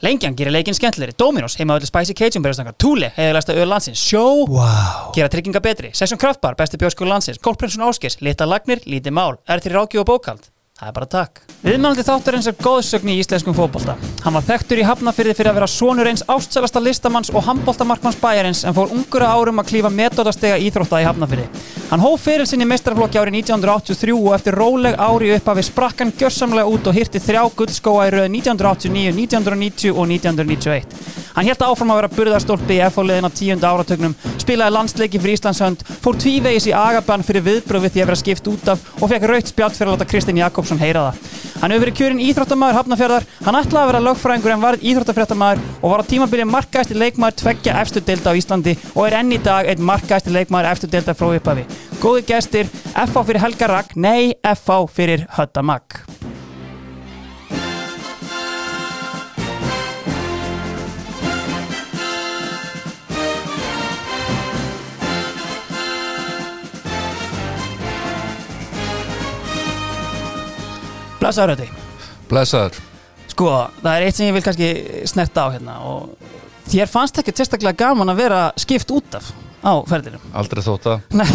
Lengjan gerir leikinn skemmtilegri, Dominos, heima öllu Spicy Cajun berjastangar, Thule, heiðalæsta öðu landsins, Sjó, Vá. gera trygginga betri, Sessjón Kraftbar, besti bjórskur landsins, Golfprinsun Áskers, Lita Lagnir, Lítið Mál, er til ráki og bókald. Það er bara takk. Viðmælandi þáttar eins er góðsögn í íslenskum fótbolta. Hann var þekktur í hafnafyrði fyrir að vera sonur eins ástsælasta listamanns og handboltamarkmanns bæjarins en fór ungur að árum að klífa metodastega íþrótta í hafnafyrði. Hann hóf fyrir sinni mestarflokki árið 1983 og eftir róleg ári upp af við sprakkan gjörsamlega út og hirti þrjá guldskóa í röð 1989, 1990 og 1991. Hann hélt áfram að vera burðarstólpi í FH-liðin á tíundu áratögnum, spilaði landsleiki fyrir Íslandshönd, fór tvívegis í agabann fyrir viðbröð við því að vera skipt út af og fekk rautt spjátt fyrir að láta Kristinn Jakobsson heyra það. Hann hefur verið kjörinn íþróttamæður hafnafjörðar, hann ætlaði að vera lögfræðingur en varð íþróttafréttamæður og var á tímabili markaðasti leikmaður tveggja efstu deilda á Íslandi og er enn í dag einn markaðasti leikmaður efstu deilda frá upphafi. Góði gestir, FH fyrir Helga Rack, nei, FH fyrir Höttamak. Blessaður ötti. Blessaður. Sko, það er eitt sem ég vil kannski snerta á hérna og þér fannst ekki testaklega gaman að vera skipt út af á ferðinum. Aldrei þótt að. Nei,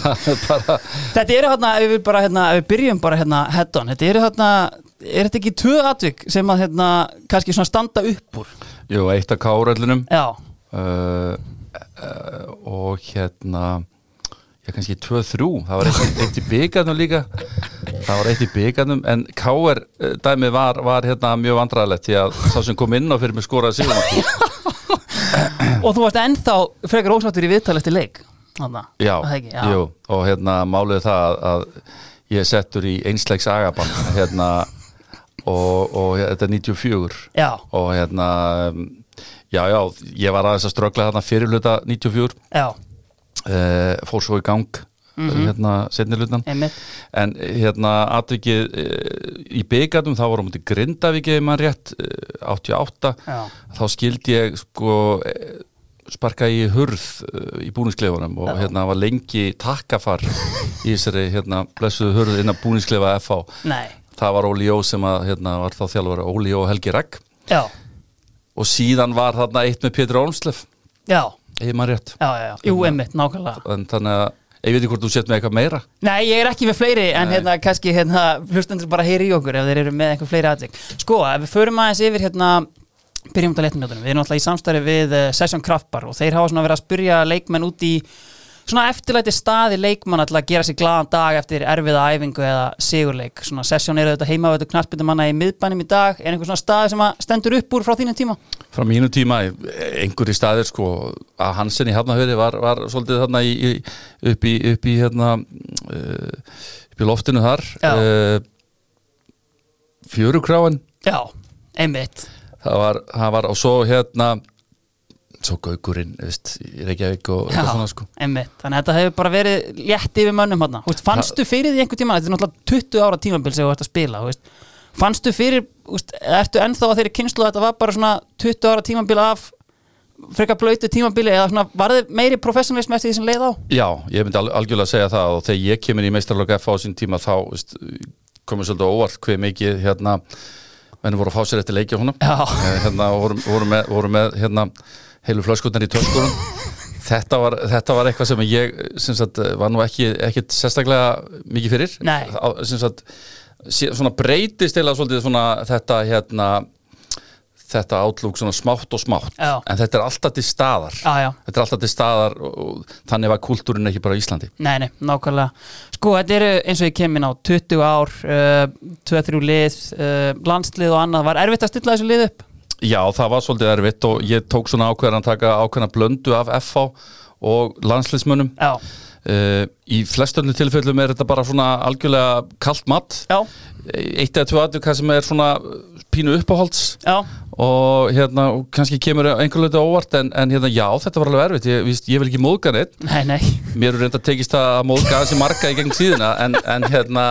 Það er bara, þetta eru hérna, ef við bara hérna, ef við byrjum bara hérna head on, þetta eru hérna, er þetta ekki tvö atvik sem að hérna kannski svona standa upp úr? jú, eitt að kárallunum. Já, uh, uh, og hérna já kannski 2-3 það var eitt, eitt í byggarnum líka það var eitt í byggarnum en K.R. uh, dæmi var, var hérna mjög vandræðilegt því að sá sem kom inn á fyrir mig skoraði síðan og þú varst ennþá frekar ósáttur í viðtal eftir leik, þannig já, það ekki, já. jú, og hérna málið það að, að ég er settur í einslegs agabann hérna og, og hérna, þetta er 94 Já, og hérna um, já, já, ég var aðeins að ströggla þarna fyrir hluta 94 já, uh, fór svo í gang hérna setni hlutan Mhm. einmitt, en eh, hérna atvikið uh, í byggatum þá vorum við grindavikið mann rétt uh, 88 já, þá skildi ég sko eh, sparka í hurð eh, í búninskleifunum og Já. hérna var lengi takkafar í þessari hérna blessuðu hurð innan búningskleifa FH nei, það var Óli Jó sem að hérna var þá þjálfur Óli Jó og Helgi Ragg já, og síðan var þarna eitt með Pétur Olmslef já, ég maður já, rétt já, já, Hérna. jú, einmitt, nákvæmlega. en þannig að ég veit ekki hvort þú sett með eitthvað meira Nei, ég er ekki með fleiri en hérna kannski hérna hlustendur bara heyri í okkur ef þeir eru með eitthvað fleiri aðtök. Sko, ef við förum aðeins yfir hérna byrjum út á leikmennjóðunum. Við erum alltaf í samstarfi við uh, Session Kraftbar og þeir hafa svona verið að spyrja leikmenn út í svona eftirlæti staði leikmann alltaf að gera sér glaðan dag eftir erfiða æfingu eða sigurleik. Svona Session eru þetta heima á þetta knarsbyttumanna í miðbænum í dag. Er einhver svona staði sem að stendur upp úr frá þínum tíma? frá mínu tíma, einhverju staðir sko, að Hansen í Hafnahöri var, var svolítið þarna í, í, upp í, upp í hérna uh, upp í loftinu þar Já. uh, fjörukráin Já, einmitt. það var, það var og svo hérna svo gaugurinn, veist, í Reykjavík og Já, eitthvað svona sko einmitt. Þannig að þetta hefur bara verið létt yfir mönnum hann. Veist, fannstu fyrir því einhvern tíma, þetta er náttúrulega 20 ára tímabil sem þú ert að spila, þú veist. fannstu fyrir, þú veist, ertu ennþá að þeirri kynslu að þetta var bara svona 20 ára tímabil af frekar blöytu tímabili eða svona, var þið meiri professionalism eftir því sem leið á? Já, ég myndi al- algjörlega að segja það og þegar ég kemur í meistarlöka F á sín tíma þá veist, komið svolítið á óvart hver mikið hérna, menn voru að fá sér eftir leikja húnum Já. hérna, og voru, voru með, voru með hérna, heilu flöskutnar í töskurum þetta, var, þetta var eitthvað sem ég sem sagt, var nú ekki, ekki sérstaklega mikið fyrir Nei. Á- sem sagt, sé- svona breytist eða svolítið svona þetta hérna þetta átlúk svona smátt og smátt Já. en þetta er alltaf til staðar Já, já. þetta er alltaf til staðar og, og þannig var kultúrin ekki bara á Íslandi Nei, nei, nákvæmlega. Sko, þetta eru eins og ég kem inn á 20 ár, uh, 2-3 lið, uh, landslið og annað. Var erfitt að stilla þessu lið upp? Já, það var svolítið erfitt og ég tók svona ákveðan að taka ákveðan blöndu af FH og landslismunum Já, uh, í flestunni tilfellum er þetta bara svona algjörlega kalt mat já, eitt eða tvö atvika sem er svona pínu uppáhalds já, og hérna, og kannski kemur einhver leiti á óvart en, en hérna, já, þetta var alveg erfitt ég, víst, ég vil ekki móðga neitt nei, nei, mér er reynda tekist að móðga þessi marga í gegn tíðina en, en hérna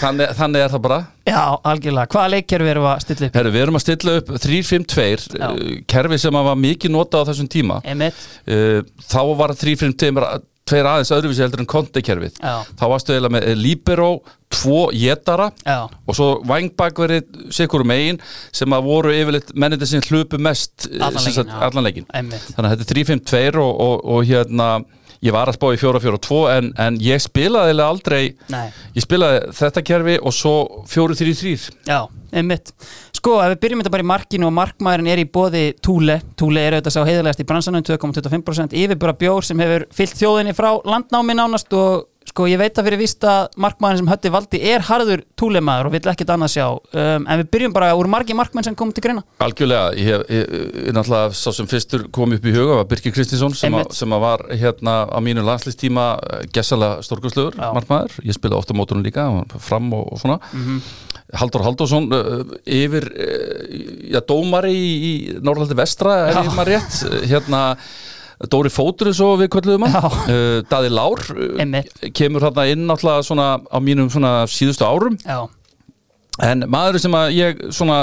þannig, þannig er það bara já, algjörlega. Hvaða leikkerfi erum við að stilla upp? Herru, við erum að stilla upp 3-5-2 Já. eh, kerfi sem að var mikið notað á þessum tíma Einmitt, Eh, þá var 3-5-2 tveir aðeins öðruvísi heldur en kontekerfið Já. þá varstu eiginlega með eh, Libero, tvo jetara Já. og svo vangbakveri sikur megin sem að voru yfirleitt menniti sem hlupu mest eh, Allan sem leikinn, sagt, já. allan leikin Einmitt. þannig að þetta er 3-5-2 og, og, og hérna ég var að spá í 4-4-2 en, en ég spilaði eiginlega aldrei Nei. ég spilaði þetta kerfi og svo 4-3-3 Já, einmitt. Sko, ef við byrjum þetta bara í markinu og markmaðurinn er í bóði Túle, Túle er auðvitað sá heiðarlegast í bransanum 2,25% yfirbúra bjór sem hefur fyllt þjóðinni frá landnámi nánast og sko, ég veit að fyrir víst að markmaðurinn sem hötti valdi er harður Túlemaður og vill ekkit annað sjá um, en við byrjum bara úr margi markmenn sem kom til greina Algjörlega, ég hef ég, ég, náttúrulega sá sem fyrstur kom upp í huga var Birkir Kristinsson sem, að- Einmitt. sem að var hérna á eh, mínu landslistíma gessalega stórkurslugur, Já. margmaður ég spilaði ofta mótunum líka, hann var fram og, og svona Mhm. Haldur Haldursson uh, yfir, uh, já, dómari í, í Norrlandi vestra er ég maður rétt, uh, hérna Dóri Fótur eins og við kvöldluðum hann Já. uh, Daði Lár uh, Einmitt. kemur hérna inn náttúrulega svona á mínum svona síðustu árum Já, En maður sem að ég svona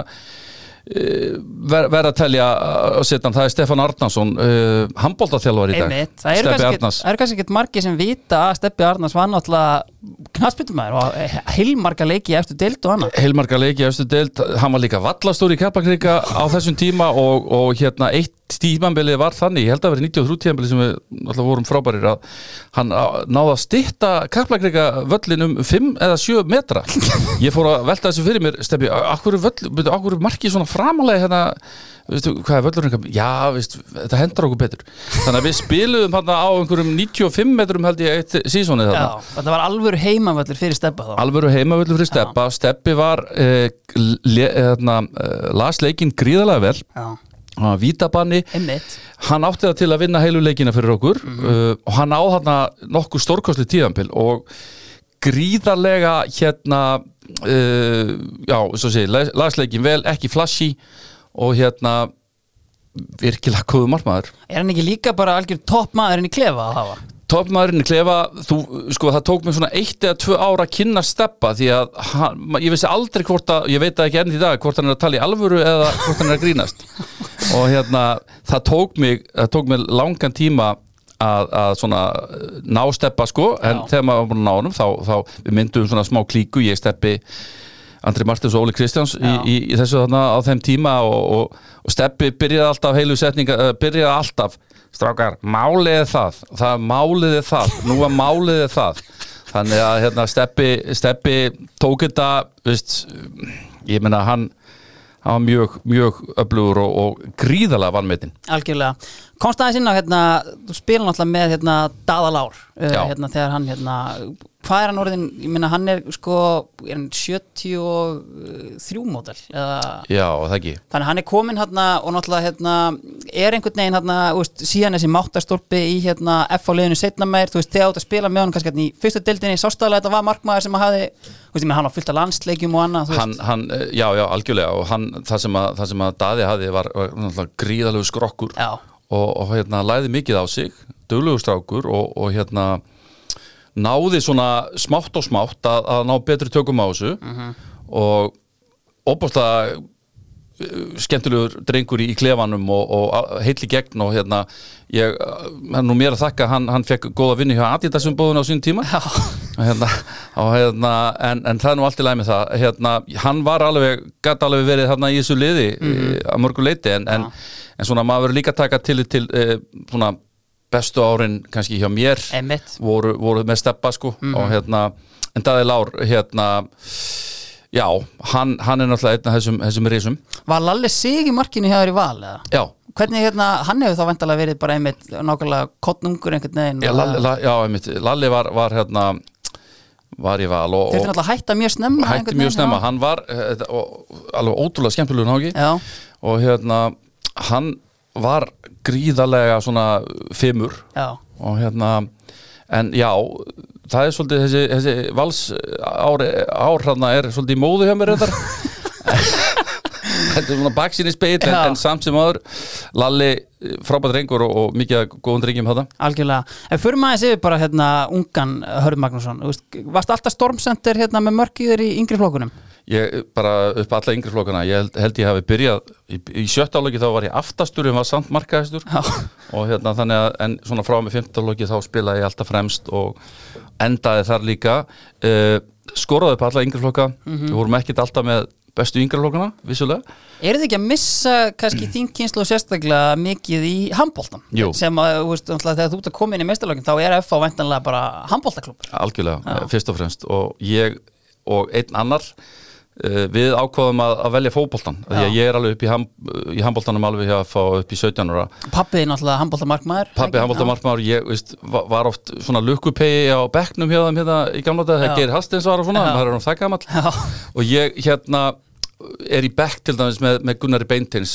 eh, ver, verð að telja að setja hann, það er Stefán Arnason uh, handbóltaþjálfar í dag einmitt. Það eru Stebbi kannski, Arnars. það eru kannski ekkit margi sem vita að Steppi Arnars var náttúrulega knassbyttumæður og á heilmarga leiki í eftir deild og annað Heilmarga leiki í östu deild, hann var líka vallastóri í Kaplakrika á þessum tíma og, og hérna eitt tímambilið var þannig, ég held að vera 93 tímambilið sem við alltaf vorum frábærir að hann á- náði að stytta Kaplakrika völlin um 5 eða 7 metra ég fór að velta þessu fyrir mér stefni, akkur er völl, byrju, akkur er markið svona framalega hérna, veistu, hvað er völlurinn gamall? já, veist, þetta hendur okkur betur þannig að við spiluðum hann á einhverjum 95 metrum held ég eitt sísonið þarna Já, þetta var alvöru heimavöllur fyrir Steppa þá alvöru heimavöldu fyrir Steppa Steppi var uh, le, hérna, uh, las leikinn gríðalega vel Já, hann var vítabanni einmitt hann átti það til að vinna heilu leikina fyrir okkur uh, og hann á þarna nokkuð stórkostli tíðanpil og gríðarlega hérna uh, já, svo segi, las, las leikinn vel ekki flashy og hérna virkilega góðu margmaður Er hann ekki líka bara algjör toppmaðurinn í klefa að hafa? Topmaðurinn í klefa, þú, sko, það tók mig svona eitt eða tvö ára að kynna steppa því að hann, ma- ég vissi aldrei hvort að, ég veit það ekki enn í dag, hvort hann er að tala í alvöru eða hvort hann er að grínast. Og hérna, það tók mig, það tók mig langan tíma að, að svona eh, ná steppa sko, en Já. þegar maður var búin að ná honum þá, þá við myndum svona smá klíku, ég steppi Andri Martins og Óli Kristjáns í, Já. í, í þessu þarna á þeim tíma og, og, og Steppi byrjaði alltaf heilu setninga, uh, byrjaði alltaf strákar, málið er það, það málið er það, nú var málið er það þannig að hérna Steppi Steppi tók þetta veist, ég meina hann hann var mjög, mjög öflugur og, og gríðalega vannmetinn Algjörlega. Komst aðeins inn á hérna, þú spila náttúrulega með hérna Daðalár, uh, Já. hérna þegar hann hérna, hvað er hann orðin, ég meina hann er sko, er hann 73 mótel, eða Já, það ekki Þannig að hann er kominn hérna og náttúrulega hérna, er einhvern veginn hérna, þú veist, síðan þessi máttarstólpi í hérna F á liðinu setna meir, þú veist, þegar átt að spila með honum kannski hérna í fyrstu deildinni, sástæðlega þetta var markmaður sem að hafi, þú veist, ég meina, hann á fullt af landsleikjum og annað, þú hann, veist, hann, eh, já, já, algjörlega og hann, það sem að, það sem að Daði hafði var, var náttúrulega gríðalegu skrokkur Já. og, og hérna læði mikið á sig duglegur strákur og, og hérna náði svona smátt og smátt að, að ná betri tökum á þessu Mhm. og opaslega skemmtilegur drengur í, í klefanum og, og heitli gegn og hérna ég, eh, nú mér að þakka að hann, hann fekk góða vinni hjá Adidas um bóðun á sín tíma Og hérna, og hérna, en, en það er nú allt í lagi með það hérna, hann var alveg, gæti alveg verið þarna í þessu liði mm að mörgu leiti en, en, en svona maður verður líka að taka til, til eh, svona bestu árin kannski hjá mér Einmitt. voru, voru með steppa sko og hérna, en Daði Lár hérna, já hann, hann er náttúrulega einn af þessum, þessum risum var Lalli sig í markinu hjá þér í val, eða? já, Hvernig hérna, hann hefur þá vantalega verið bara einmitt nákvæmlega kottnungur einhvern veginn já, og- Lalli, la, já einmitt, Lalli var, var hérna var í val og, Þurfti og náttúrulega að hætta mjög snemma hætti einhvern mjög veginn, snemma, já. hann var eh, þetta- og, alveg ótrúlega skemmtilegur nági Já, og hérna hann var gríðarlega svona fimmur já, og hérna en já, það er svolítið þessi, þessi vals ári, ár hérna er svolítið í móðu hjá mér þetta þetta er svona baksinni speil en, Já. en samt sem aður Lalli frábæð drengur og, og mikið af góðum drengjum þetta algjörlega En fyrir maður séu bara hérna ungan Hörð Magnússon, þú veist, varst alltaf stormcenter hérna með mörkiður í yngri flokkunum ég bara upp alla yngri flokkana ég held, held ég hafi byrjað í, í sjötta áloki þá var ég aftastur en var samt markaðistur og hérna þannig að en svona frá með fymta áloki þá spilaði ég alltaf fremst og endaði þar líka uh, skoraði upp alla yngri flokka við vorum ekkert alltaf með bestu yngri flokkana vissulega Er þið ekki að missa kannski þín kynslu sérstaklega mikið í handbóltan? Jú. Sem að, þú veist, náttúrulega þegar þú ert að koma inn í meistarlökin þá er FH væntanlega bara handbóltaklub Algjörlega, eh, fyrst og fremst og ég og einn annar uh, við ákvaðum að, að velja fótboltan því að Já. ég er alveg upp í, ham, í handboltanum alveg hjá að fá upp í 17 ára Pappiði náttúrulega handbóltamarkmaður Pabbi handboltamarkmaður, ég veist, va- var oft svona lukkupegi á bekknum hjá þeim hérna í gamla dag, Já. það gerir Hastins var og svona, Já. það er hann það gamall Já, og ég hérna er í bekk til dæmis með, með Gunnari Beintins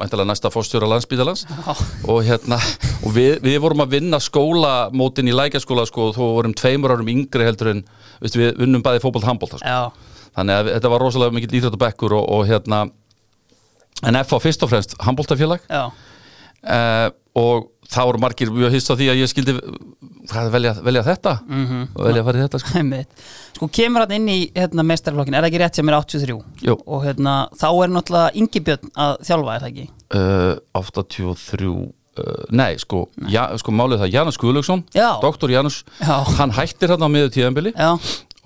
væntalega næsta fórstjóra landsbítalans Já. og hérna og við, við vorum að vinna skólamótin í lækjaskóla sko og þó vorum tveimur árum yngri heldur en veistu, við vinnum bæði fótbolt handbólta sko. já, þannig að þetta var rosalega mikill íþrætt og bekkur og, og hérna en FH fyrst og fremst handbóltafélag já uh, og það voru margir mjög hissa á því að ég skildi hvað, velja, velja þetta Mhm. og velja að fara í þetta sko. Einmitt. Sko kemur hann inn í hérna, meistarflokkin, er það ekki rétt sem er 83? Jú. Og hérna, þá er náttúrulega Ingi Björn að þjálfa, er það ekki? uh, 83 uh, nei sko, ja, sko málið það Janus Guðlaugsson, Já. doktor Janus Já. hann hættir hann á miður tíðanbili Já,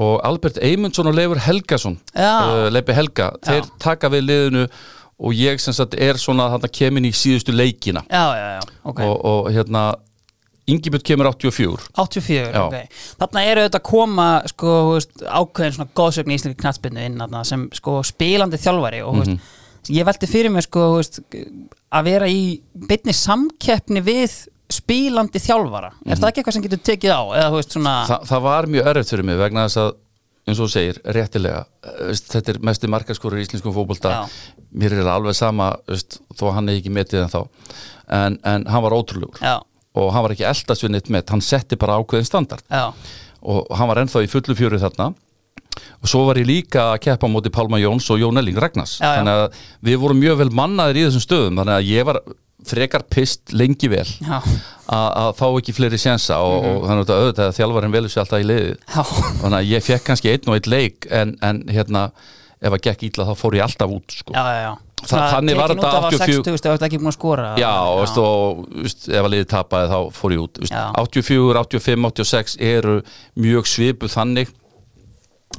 og Albert Eymundsson og Leifur Helgason Já. Leipi Helga, þeir taka við liðinu og ég sem sagt er svona þarna kemin í síðustu leikina já, já, já, ok og, og hérna Ingibjörn kemur 84 84, Já. ok Þarna eru auðvitað að koma sko, þú veist, ákveðin svona góðsögn í íslenski knattspinnu inn þarna, sem sko, spilandi þjálfari og Mhm. mm veist, ég velti fyrir mér sko, þú veist, að vera í beinni samkeppni við spilandi þjálfara Er það ekki eitthvað sem getur tekið á? Eða, þú veist, svona, Mhm. Þa, það var mjög erfitt fyrir mig vegna þess að eins og þú segir, réttilega eh, veist, þetta er mesti markaskorur í íslenskum fótbolta Já. mér er alveg sama veist, þó að hann er ekki metið en þá en, en hann var ótrúlegur já, og hann var ekki eldast við neitt met hann setti bara ákveðin standard já, og hann var ennþá í fullu fjöru þarna og svo var ég líka að keppa á móti Pálma Jóns og Jón Elling Ragnars Já, já. þannig að við vorum mjög vel mannaðir í þessum stöðum þannig að ég var frekar pist lengi vel já, að að fá ekki fleiri sensa og, og þannig að auðvitað að þjálfarinn velur sér alltaf í liðið Mhm. já þannig að ég fekk kannski einn og einn leik en, en hérna ef að gekk illa þá fór ég alltaf út sko. Já, já, já Þa- þannig var þetta 84 60, þú veist ekki búin að skora Já, og, veist, og veist, ef að liðið tapaði þá fór ég út veist, Já. 84, 85, 86 eru mjög svipuð þannig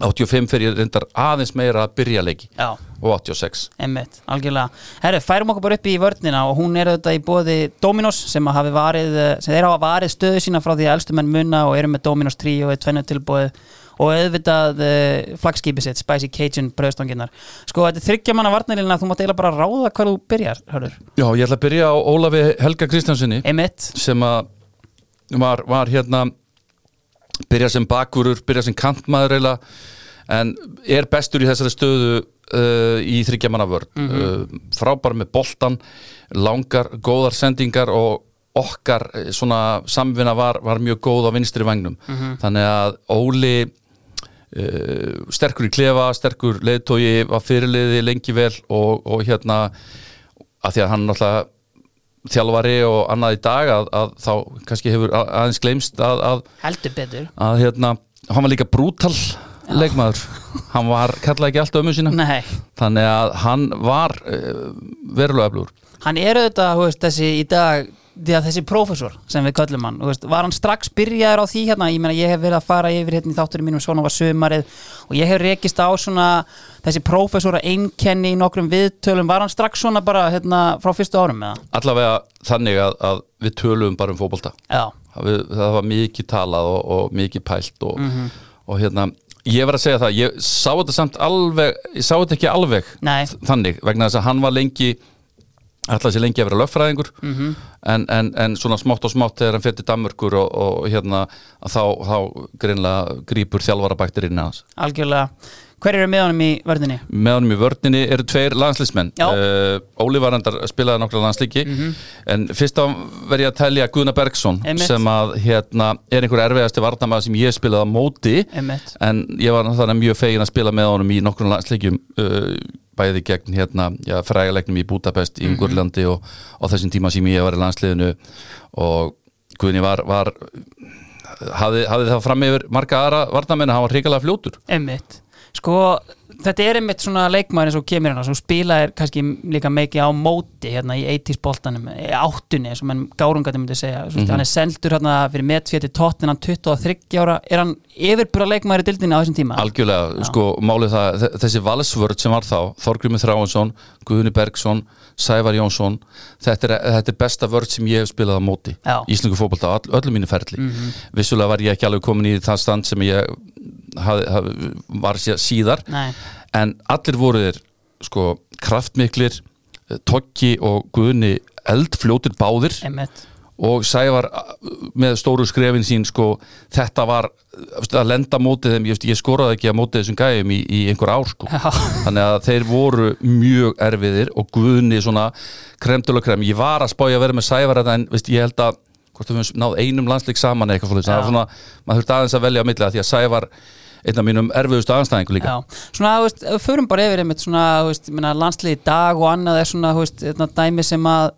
85 fyrir ég reyndar aðeins meira að byrja leiki Já, og 86 Einmitt, algjörlega. Herri, færum okkur bara upp í vörnina og hún er auðvitað í bóði Dominos sem, að hafi varið, eh, sem þeir hafa varið stöðu sína frá því að elstu menn munna og eru með Dominos 3 og er tvennu tilbúið og auðvitað uh, flagskipi sitt, Spicy Cajun bröðstanginnar. Sko, þetta er þryggja manna varnarlina, þú mátt eiginlega bara ráða hvað þú byrjar, hörður. Já, ég ætla að byrja á Ólafi Helga Kristjánsinni Einmitt, sem að var, var hérna byrja sem bakurur, byrja sem kantmaður eiginlega, en er bestur í þessari stöðu uh, í þryggjamanna vörn uh, frábær með boltan, langar góðar sendingar og okkar eh, svona samvinna var, var mjög góð á vinstri vagnum þannig að Óli uh, sterkur í klefa, sterkur leiðtói var fyrirliði lengi vel og, og hérna að því að hann náttúrulega þjálfari og annað í dag að, að þá kannski hefur a- aðeins gleymst að, að, heldur betur. að hérna, hann var líka brútal leikmaður, hann var kallaði ekki allt ömmu sína, Nei, þannig að hann var uh, verulega öflugur hann er auðvitað, þú veist, þessi í dag, því að þessi prófessor sem við köllum hann, þú veist, var hann strax byrjaður á því hérna, ég meina ég hef verið að fara yfir hérna í þátturinn mínum svona var sömarið og ég hef rekist á svona þessi prófessora einkenni í nokkrum viðtölum, var hann strax svona bara hérna frá fyrstu árum eða? allavega þannig að, að við töluðum bara um fótbolta Já, Það við, það var mikið talað og, og mikið pælt og, og hérna ég var að segja það, ég sá þetta samt alveg ég sá þetta ekki alveg Nei. þ- þannig, vegna þess að hann var lengi ætlaði sér lengi að vera lögfræðingur -hmm. en, en, en svona smátt og smátt þegar hann fyrir Danmörkur og, og hérna að þá, þá greinlega grípur þjálfarabæktirinn hans algjörlega Hver eru með honum í verðinni? með honum í vörninni eru tveir landslismenn Já. Mhm. uh, Óli Varendar spilaði nokkra landsliki en fyrst á verð ég að telja Guðna Bergson Einmitt. sem að hérna, er einhver erfiðasti varnamaður sem ég spilaði á móti Einmitt. en ég var náttúrulega mjög fegin að spila með honum í nokkrum landsleikjum uh, bæði gegn hérna, já, frægalegnum í Budapest Mhm. í Ungurlandi og á þessum tíma sem ég var í landsliðinu og Guðni var, var hafði, hafði það fram yfir marga aðra varnamenn hann var hrikalega fljótur Einmitt sko, þetta er einmitt svona leikmaður eins og kemur hérna, sem spilaðir kannski líka meiki á móti hérna í 80s boltanum, eh, áttunni eins og menn gárungandi myndi segja, mm hann er seldur hérna fyrir metfjöti tóttin hann 23 ára, er hann yfirbúra leikmaður í dildinni á þessum tíma? Algjörlega, sko, málið það þe- þessi valsvörð sem var þá, Þorgrymur Þráinsson Guðni Bergson, Sævar Jónsson þetta er, þetta er besta vörð sem ég hef spilað á móti, Já. Mhm. íslengu fótbolta á all, öllu mínu ferli, vissulega var ég ekki alveg komin í það stand sem ég haf, haf, var sé- síðar Nei, en allir voru þeir sko, kraftmiklir eh, Toggi og Guðni eldfljótir báðir einmitt og Sævar a- með stóru skrefin sín sko, þetta var veist, að lenda mótið þeim, ég, veist, ég skoraði ekki að mótið þessum gæjum í, í einhver ár sko. Já. þannig að þeir voru mjög erfiðir og guðni svona kremtul og krem, ég var að spája að vera með Sævar þetta en veist, ég held að hvort við höfum náð einum landsleik saman eða eitthvað svoleiðis. það Já. var svona, maður þurfti aðeins að velja á milli af því að Sævar, einn af mínum erfiðustu anstæðingu líka, Já, svona, þú veist, ef við förum bara yfir einmitt svona, þú veist, ég meina, landslið í dag og annað er svona, þú veist, þetta dæmi sem að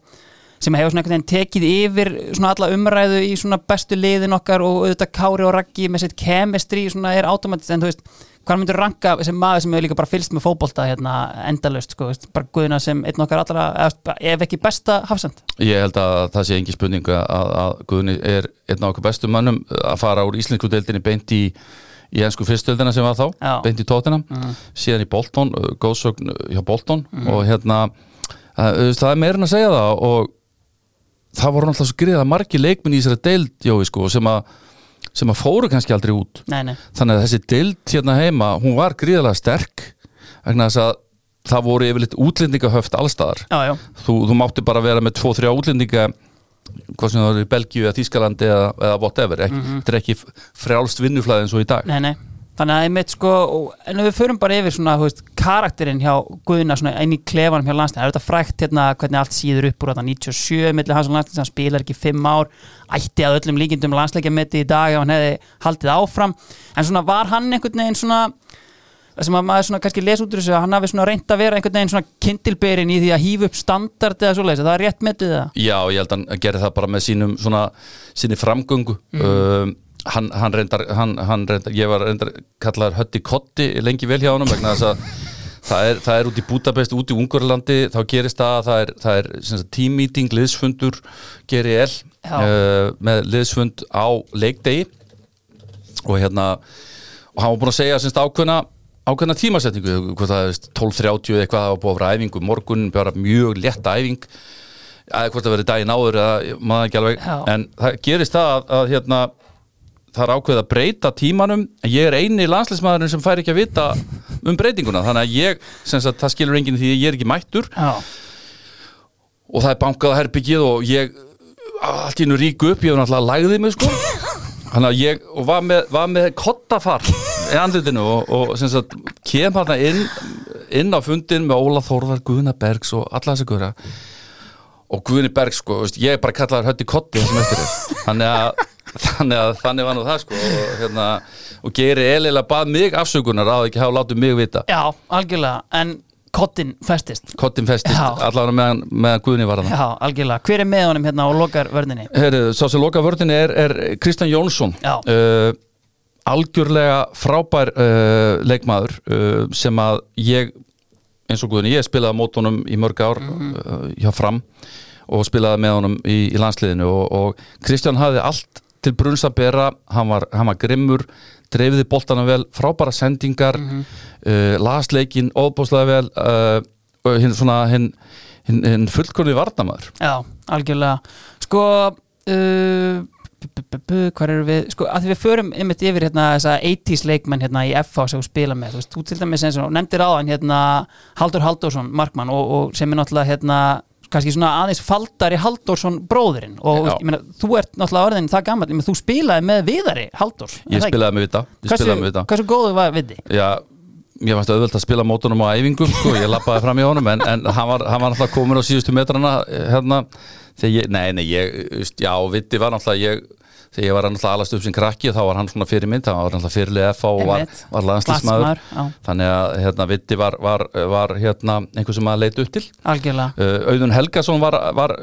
sem hefur svona einhvern veginn tekið yfir svona alla umræðu í svona bestu liðin okkar og auðvitað Kári og Raggi með sitt chemistry svona er automatist en þú veist hvað myndur ranka sem maður sem hefur líka bara fylst með fótbolta hérna endalaust sko, þú veist, bara guðina sem einn okkar allra eða, ef ekki besta hafsend Ég held að það sé engi spurning að, að Guðni er einn af okkur bestu mönnum að fara úr íslensku deildinni beint í í ennsku fyrstöldina sem var þá, Já. beint í tóttina síðan í Bolton, uh, góðsögn hjá Bolton og hérna uh, það er meira en að segja það og það voru náttúrulega svo greiða margi leikminn í þessari deild Jói, sko, sem, að, sem að fóru kannski aldrei út Nei, nei, þannig að þessi dild hérna heima hún var gríðarlega sterk vegna þess að það voru yfirleitt útlendingahöft allstaðar já, já, þú, þú mátti bara vera með 2-3 útlendinga hvað sem það eru í Belgíu eða Þískalandi eða, eða whatever, ekki, þetta er ekki frjálst vinnuflæði eins og í dag Mhm. nei, nei Þannig að einmitt sko, og- en ef við förum bara yfir svona, þú veist, karakterinn hjá Guðina svona inn í klefanum hjá landslæðin, það er þetta frækt hérna hvernig allt síður upp úr þetta 97 milli hans og landslæðin, hann spilar ekki 5 ár ætti að öllum líkindum landslækjametti í dag ef hann hefði haldið áfram en svona var hann einhvern veginn svona það sem að maður svona kannski les út úr þessu að hann hafi svona reynt að vera einhvern veginn svona kindilberin í því að hýfa upp standard eða svoleiðis, er það rétt metið það? Já, ég held að hann gerði það bara með sínum svona, sinni framgöngu Mhm. um, hann, hann reyndar, hann, hann reyndar ég var reyndar kallaður Hötti Kotti lengi vel hjá honum vegna þess að það er, það er út í Budapest, út í Ungurlandi þá gerist það, að það er, það er sem sagt, team meeting, liðsfundur, GRL Já. uh, með liðsfund á leikdegi og hérna og hann var búinn að segja semst ákveðna ákveðna tímasetningu, hvað það er 12.30 eða eitthvað það var búið að vera æfingu morgun bara mjög létt æfing eða hvort það verið daginn áður eða maður ekki alveg Já. en það gerist það að, að hérna það er ákveð að breyta tímanum en ég er eini landsleismæðurinn sem fær ekki að vita um breytinguna, þannig að ég sem sagt, það skilur enginn því að ég er ekki mættur Já, og það er bankað á herbyggið og ég allt í nú ríku upp, ég var náttúrulega lægðið mig sko þannig að ég og var með, var með kottafar í andlutinu og, og sem sagt kem hann inn, inn á fundin með Óla Þórðar Guðna Bergs og alla þessa guðra og Guðni Bergs sko, veist, ég er bara kallaður hötti kotti það sem eftir er þannig að Þannig að þannig var nú það sko og, hérna, og Geiri Elila bað mig afsökunar að ekki hafa látið mig vita já algjörlega, en kottin festist Kottin festist Já. allavega meðan, meðan Guðni var hann Já, algjörlega, hver er með honum hérna og lokar vörðinni? Heru, sá sem loka vördinni er, er Kristján Jónsson Já. uh, algjörlega frábær uh, leikmaður uh, sem að ég eins og guðinni, ég spilaði á mótunum í mörg ár Mhm. uh, hjá fram og spilaði með honum í, í landsliðinu og, og Kristján hafði allt til brunns að bera, hann var, hann var grimmur dreifiði boltana vel, frábæra sendingar Mhm. mm lasleikin óbúslega vel uh, og hinn svona hinn hin, hin fullkonni varnamaður Já, algjörlega Sko uh, bu- bu- bu- bu- Hvar eru við? Sko, að því við förum einmitt yfir hérna þessa 80s leikmenn hérna í FH sem þú spila með, þú veist, þú til dæmis eins og nefndir áðan hérna Haldur Haldursson Markmann og, og sem er náttúrulega hérna kannski svona aðeins faldari Haldursson bróðurinn og Já. ég meina, þú ert náttúrulega orðin það gammal, ég meina, þú spilaði með Viðari Haldurs, er ég það ekki? spilaði með vita, ég spilaði með vita hversu, hversu góðu var við þið? Já, mér fannst auðvelt að spila mótunum á æfingum sko, ég lappaði fram í honum en, en hann, var, hann var alltaf komin á síðustu metrana hérna, þegar ég, nei, nei ég, just, já, viti var alltaf ég þegar ég var alltaf alast upp sem krakki þá var hann svona fyrirmynd, hann var alltaf fyrirlið F og var, Einmitt. var landslísmaður Landsliðsmaður, já. þannig að hérna, viti var, var, var hérna, einhver sem maður leit upp til Algjörlega, Uh, Auðun Helgason var, var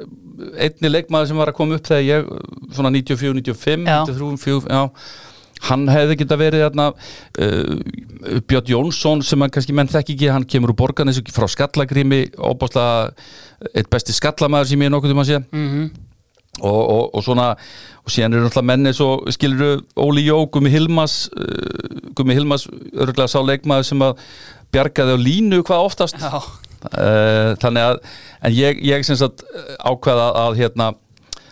einni leikmaður sem var að koma upp þegar ég uh, svona 94, 95, Já. 93, 94 já, hann hefði geta verið þarna, uh, Björn Jónsson sem hann kannski menn þekki ekki, hann kemur úr borgarnes frá skallagrými, óbáslega eitt besti skallamaður sem ég nokkuð um að sé Mhm. og, og, og svona og síðan eru náttúrulega menni svo skilur Óli Jó, Gumi Hilmas uh, Gumi Hilmas, örgulega sá leikmaður sem að bjargaði á línu hvað oftast Já, uh, þannig að en ég, ég sem sagt eh, ákveða að hérna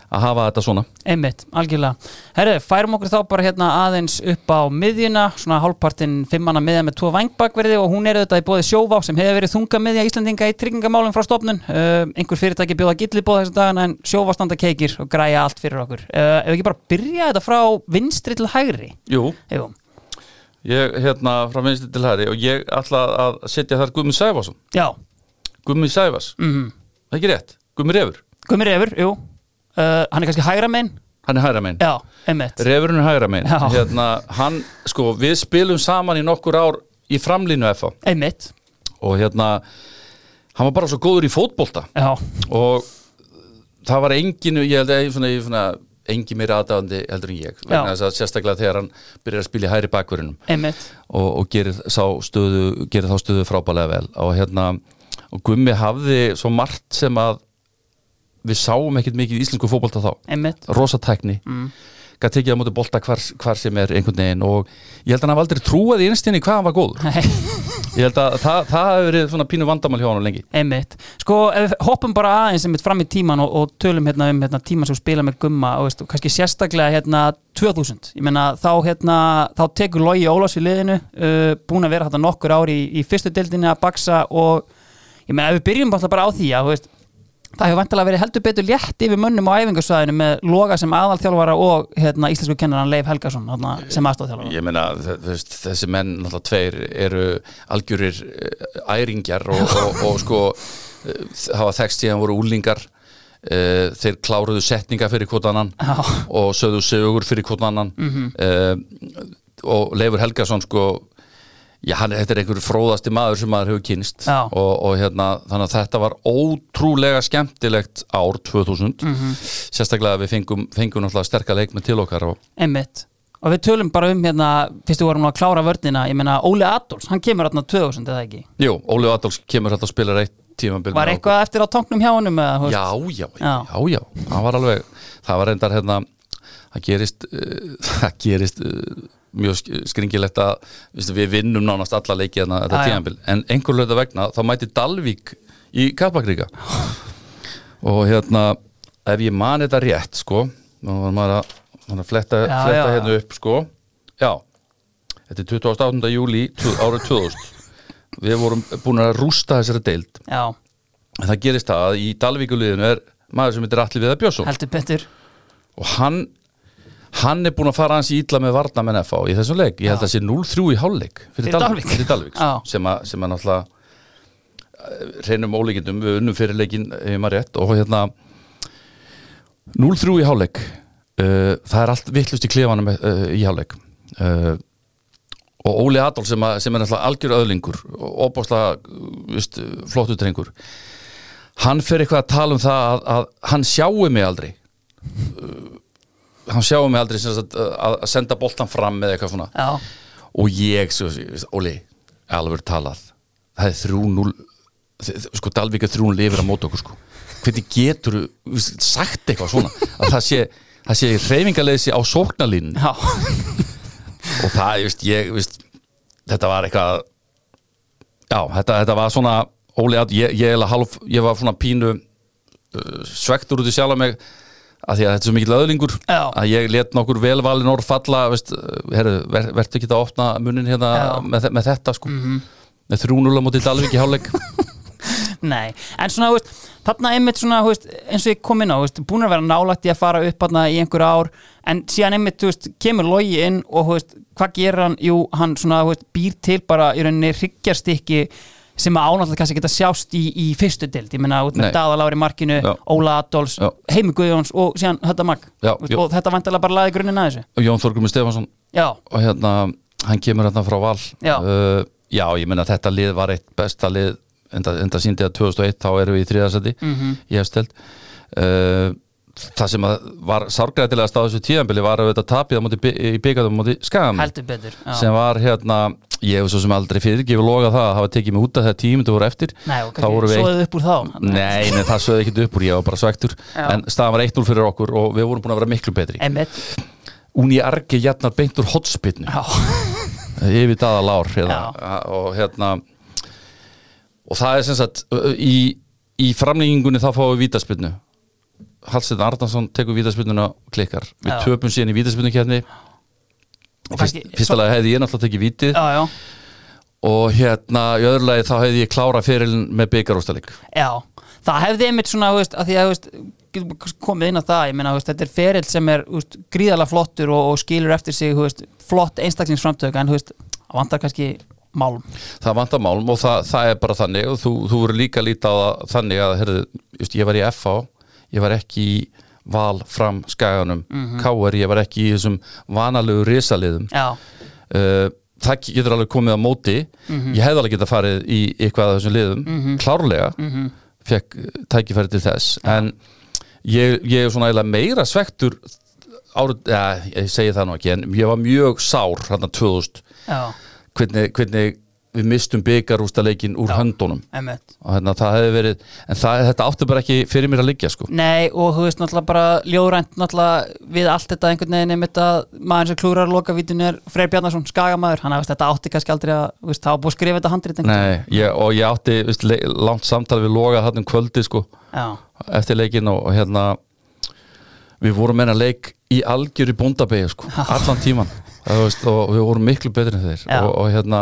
að hafa þetta svona einmitt, algjörlega Herru, færum okkur þá bara hérna aðeins upp á miðjuna, svona hálfpartinn fimmana miðja með tvo vangbakverði og hún er auðvitað í bóði sjóvá sem hefur verið þunga miðja Íslandinga í tryggingamálum frá stofnun uh, einhver fyrirtæki bjóða gilli bóða þessum dagana en sjóvá standa keikir og græja allt fyrir okkur uh, Ef ekki bara byrja þetta frá vinstri til hægri Jú, Jú, ég hérna frá vinstri til hæri og ég ætla að setja þar Gumi Sæfarsson já, Gumi Sæfars, mhm það er ekki rétt Gumi Refur, Gumi Refur, jú uh, Hann er kannski hægra megin hann er hæra megin Já, einmitt Refurinn er hæra megin Já. hérna, hann, sko, við spilum saman í nokkur ár í framlínu FA Einmitt, og hérna hann var bara svo góður í fótbolta já og það var enginu, ég held að ég svona, ég svona engin meira aðdáðandi heldur en ég Já. vegna þess að sérstaklega þegar hann byrjar að spila í hæri bakverunum Einmitt, og, og gerir, sá stöðu, gerir þá stöðu frábælega vel og hérna og Gummi hafði svo margt sem að við sáum ekkert mikið í íslensku fótbolta þá einmitt rosa tækni mm. gæti tekið á móti bolta hvar, hvar sem er einhvern veginn og ég held að hann hafa aldrei trúað í einstinni hvað hann var góður Nei, ég held að það, það hafi verið svona pínu vandamál hjá hann lengi Einmitt Sko, ef við hoppum bara aðeins einmitt fram í tíman og, og tölum hérna um hérna, tíman sem þú spila með Gumma og veist, og kannski sérstaklega hérna 2000 Ég meina þá hérna, þá tekur Logi Ólafs í liðinu uh, búin að vera hérna nokkur ári í, í fyrstu deildinni að baksa og ég meina ef við byrjum bara, bara á því að þú veist, það hefur vantilega verið heldur betur létt yfir mönnum á æfingarsvæðinu með Loga sem aðalþjálfara og hérna, íslensku kennaran Leif Helgason hérna, sem aðstofþjálfara Ég meina, þe- þú veist, þessi menn náttúrulega tveir eru algjörir eh, æringjar og, og, og sko eh, hafa þekst síðan voru úlingar eh, þeir kláruðu setninga fyrir hvort annan Já. Mhm. og sögðu sögur fyrir hvort annan eh, og Leifur Helgason sko Já, hann, þetta er einhver fróðasti maður sem maður hefur kynst Já. og, og hérna, þannig að þetta var ótrúlega skemmtilegt ár 2000 Mhm. sérstaklega að við fengum, fengum náttúrulega sterka leikmenn til okkar og Einmitt Og við tölum bara um hérna, fyrst við vorum nú að klára vörnina, ég meina Óli Adolfs, hann kemur hérna 2000 eða ekki. Jú, Óli Adolfs kemur þetta og spilar eitt tímabil Var með okkur. eitthvað eftir á tanknum hjá honum eða, þú veist? Já, já, já, Já. já, það var alveg það var reyndar hérna það gerist, uh, það gerist uh, mjög sk- skringilegt að veistu, við vinnum nánast alla leiki hérna Já, þetta já. tímabil, en einhver lögða vegna þá mæti Dalvík í Kappakríka og hérna ef ég man þetta rétt sko, nú var maður að, maður að fletta, Já, fletta já, já. hérna upp sko, já þetta er 28. júli árið 2000 við vorum búin að rústa þessari deild Já, En það gerist það að í Dalvíkuliðinu er maður sem heitir Atli Viðar Björnsson heldur betur. og hann, hann er búin að fara hans í illa með varnamenn FH í þessum leik ég held að það sé 0-3 í hálfleik Fyrir Dal- Dalvík. fyrir Dalvík Já. sem, að, sem að náttúrulega eh, reynum ólíkindum við unnum fyrir leikin ef maður rétt og hérna 0-3 í hálfleik uh, það er allt vittlust í klefanum uh, í hálfleik uh, og Óli Adolf sem, að, sem er náttúrulega algjör öðlingur og opáslega flottu drengur hann fer eitthvað að tala um það að, að hann sjáu mig aldrei uh, hann sjáu mig aldrei sem sagt, að, að senda boltan fram eða eitthvað svona Já, og ég, svo, Óli, alveg talað það er 3-0 þ- sko Dalvík er 3-0 lifir að móta okkur sko hvernig getur sagt eitthvað svona að það sé, það sé reyfingarleysi á sóknalínu já, og það, ég veist, ég veist þetta var eitthvað já, þetta, þetta var svona Óli, að- ég, ég, eiginlega hálf, ég var svona pínu uh, svektur út í sjálf mig að því að þetta er svo mikill öðlingur Já. að ég let nokkur velvalin orð falla veist, uh, herru, ver, vertu ekki að opna munnin hérna Já. Mhm. með, þe- með þetta sko með 3-0 á móti Dalvík í hálfleik nei. En svona, þú veist, þarna einmitt svona, þú veist, eins og ég kom inn á, þú veist, búin að vera nálægt í að fara upp hérna í einhver ár, en síðan einmitt, þú veist, kemur Logi inn og, þú veist, hvað gerir hann? Jú, hann svona, þú veist, býr til bara í rauninni hryggjarstykki sem að ánáttúrulega kannski geta sjást í, í fyrstu dild, ég meina út með Nei. Daðalári Markinu, Já. Óla Adolfs, Já. Heimi Guðjóns og síðan Hötta Mag Já, Þú veist, jú. og þetta vantilega bara laði grunninn að þessu Jón Þorgumur Stefansson Já, og hérna, hann kemur hérna frá Val Já. uh, já ég meina þetta lið var eitt besta lið, Mhm. enda, enda síndi að 2001 þá erum við í þriðarsæti, mm -hmm. ég hef stelt uh, það sem að var sárgrætilegast á þessu tíðanbili var að þetta tapið á móti, bi- í byggjum á móti skam heldur betur já. sem var hérna ég hef svo sem aldrei fyrirgefið loga það að hafa tekið mig út af þegar tímundu voru eftir Nei, og Þá voru kannski við eitt- svoðið upp úr þá Nei, nei, það sögði ekkert upp úr, ég var bara svektur Já. En staðan var 1-0 fyrir okkur og við vorum búin að vera miklu betri Emmett Unni Arge jarnar beint úr hotspinnu Já, Yfir daða lár hérna, Og hérna Og það er sem sagt ö, ö, Í, í framlengingunni þá fáum við vítaspinnu Hallsteinn Arnason tekur vítaspinnuna og klikkar Við Já. töpum síðan í vítaspinnu kefni Og Fyrst, kannski- Fyrsta lagi hefði ég náttúrulega tekið vítið já, já, Og hérna, í öðru lagi þá hefði ég klára fyrirlin með byggarústalik já Það hefði einmitt svona, þú veist, að því að þú veist, getum kannski komið inn á það, ég meina, þú veist, þetta er ferill sem er þú veist, gríðalega flottur og, og skilur eftir sig, þú veist, flott einstaklingsframtök en, þú veist, það vantar kannski málum það vantar málum og það, það er bara þannig og þú, þú verður líka að líta á það þannig að herðu, just, ég var í FH ég var ekki í val fram skaganum, KR, ég var ekki í þessum vanalegu risaliðum Já, uh, það getur alveg komið á móti ég hefði alveg getað farið í eitthvað af þessum liðum, klárlega fekk tækifæri til þess en ég, ég er svona eiginlega meira svektur árið, ja, ég segi það nú ekki en ég var mjög sár hérna 2000 já, hvernig, hvernig við mistum byggarústaleikin úr höndunum Emmett og hérna, það hefði verið en það, þetta átti bara ekki fyrir mér að liggja sko. Nei, og þú veist náttúrulega bara ljóðrænt náttúrulega við allt þetta einhvern veginn einmitt að maður sem klúrar lokavítun er Freyr Bjarnason, skagamæður, hann að veist, þetta átti kannski aldrei að, þú veist, það var búið að skrifa þetta handrið Nei, ég, og ég átti veist, le- langt samtal við loga hann um kvöldi sko, Já, eftir leikin og, og hérna við vorum meina leik í algjöru bóndabegi sko, allan tíman Það, þú veist, og við vorum miklu betri en þeir Já. og, og hérna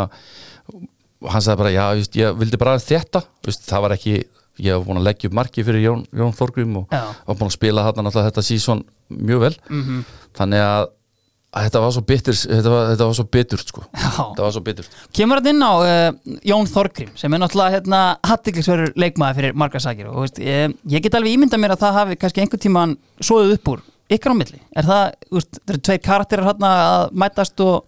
og hann sagði bara, já, þú veist, ég vildi bara þetta veist, það var ekki, ég hef búin að leggja upp marki fyrir Jón, Jón Þorgrím og Já. Mhm. var búin að spila þarna náttúrulega þetta sísón mjög vel -hmm. þannig að, að þetta var svo bitur þetta var, þetta var svo biturt sko já þetta var svo biturt Kemur hann inn á uh, Jón Þorgrím sem er náttúrulega hérna hattiklisverður leikmaður fyrir margar sakir og þú veist, ég, ég get alveg ímyndað mér að það hafi kannski einhvern tíman svoðið upp úr ykkar á milli er það, þú veist, það eru tveir karakterar hérna að mætast og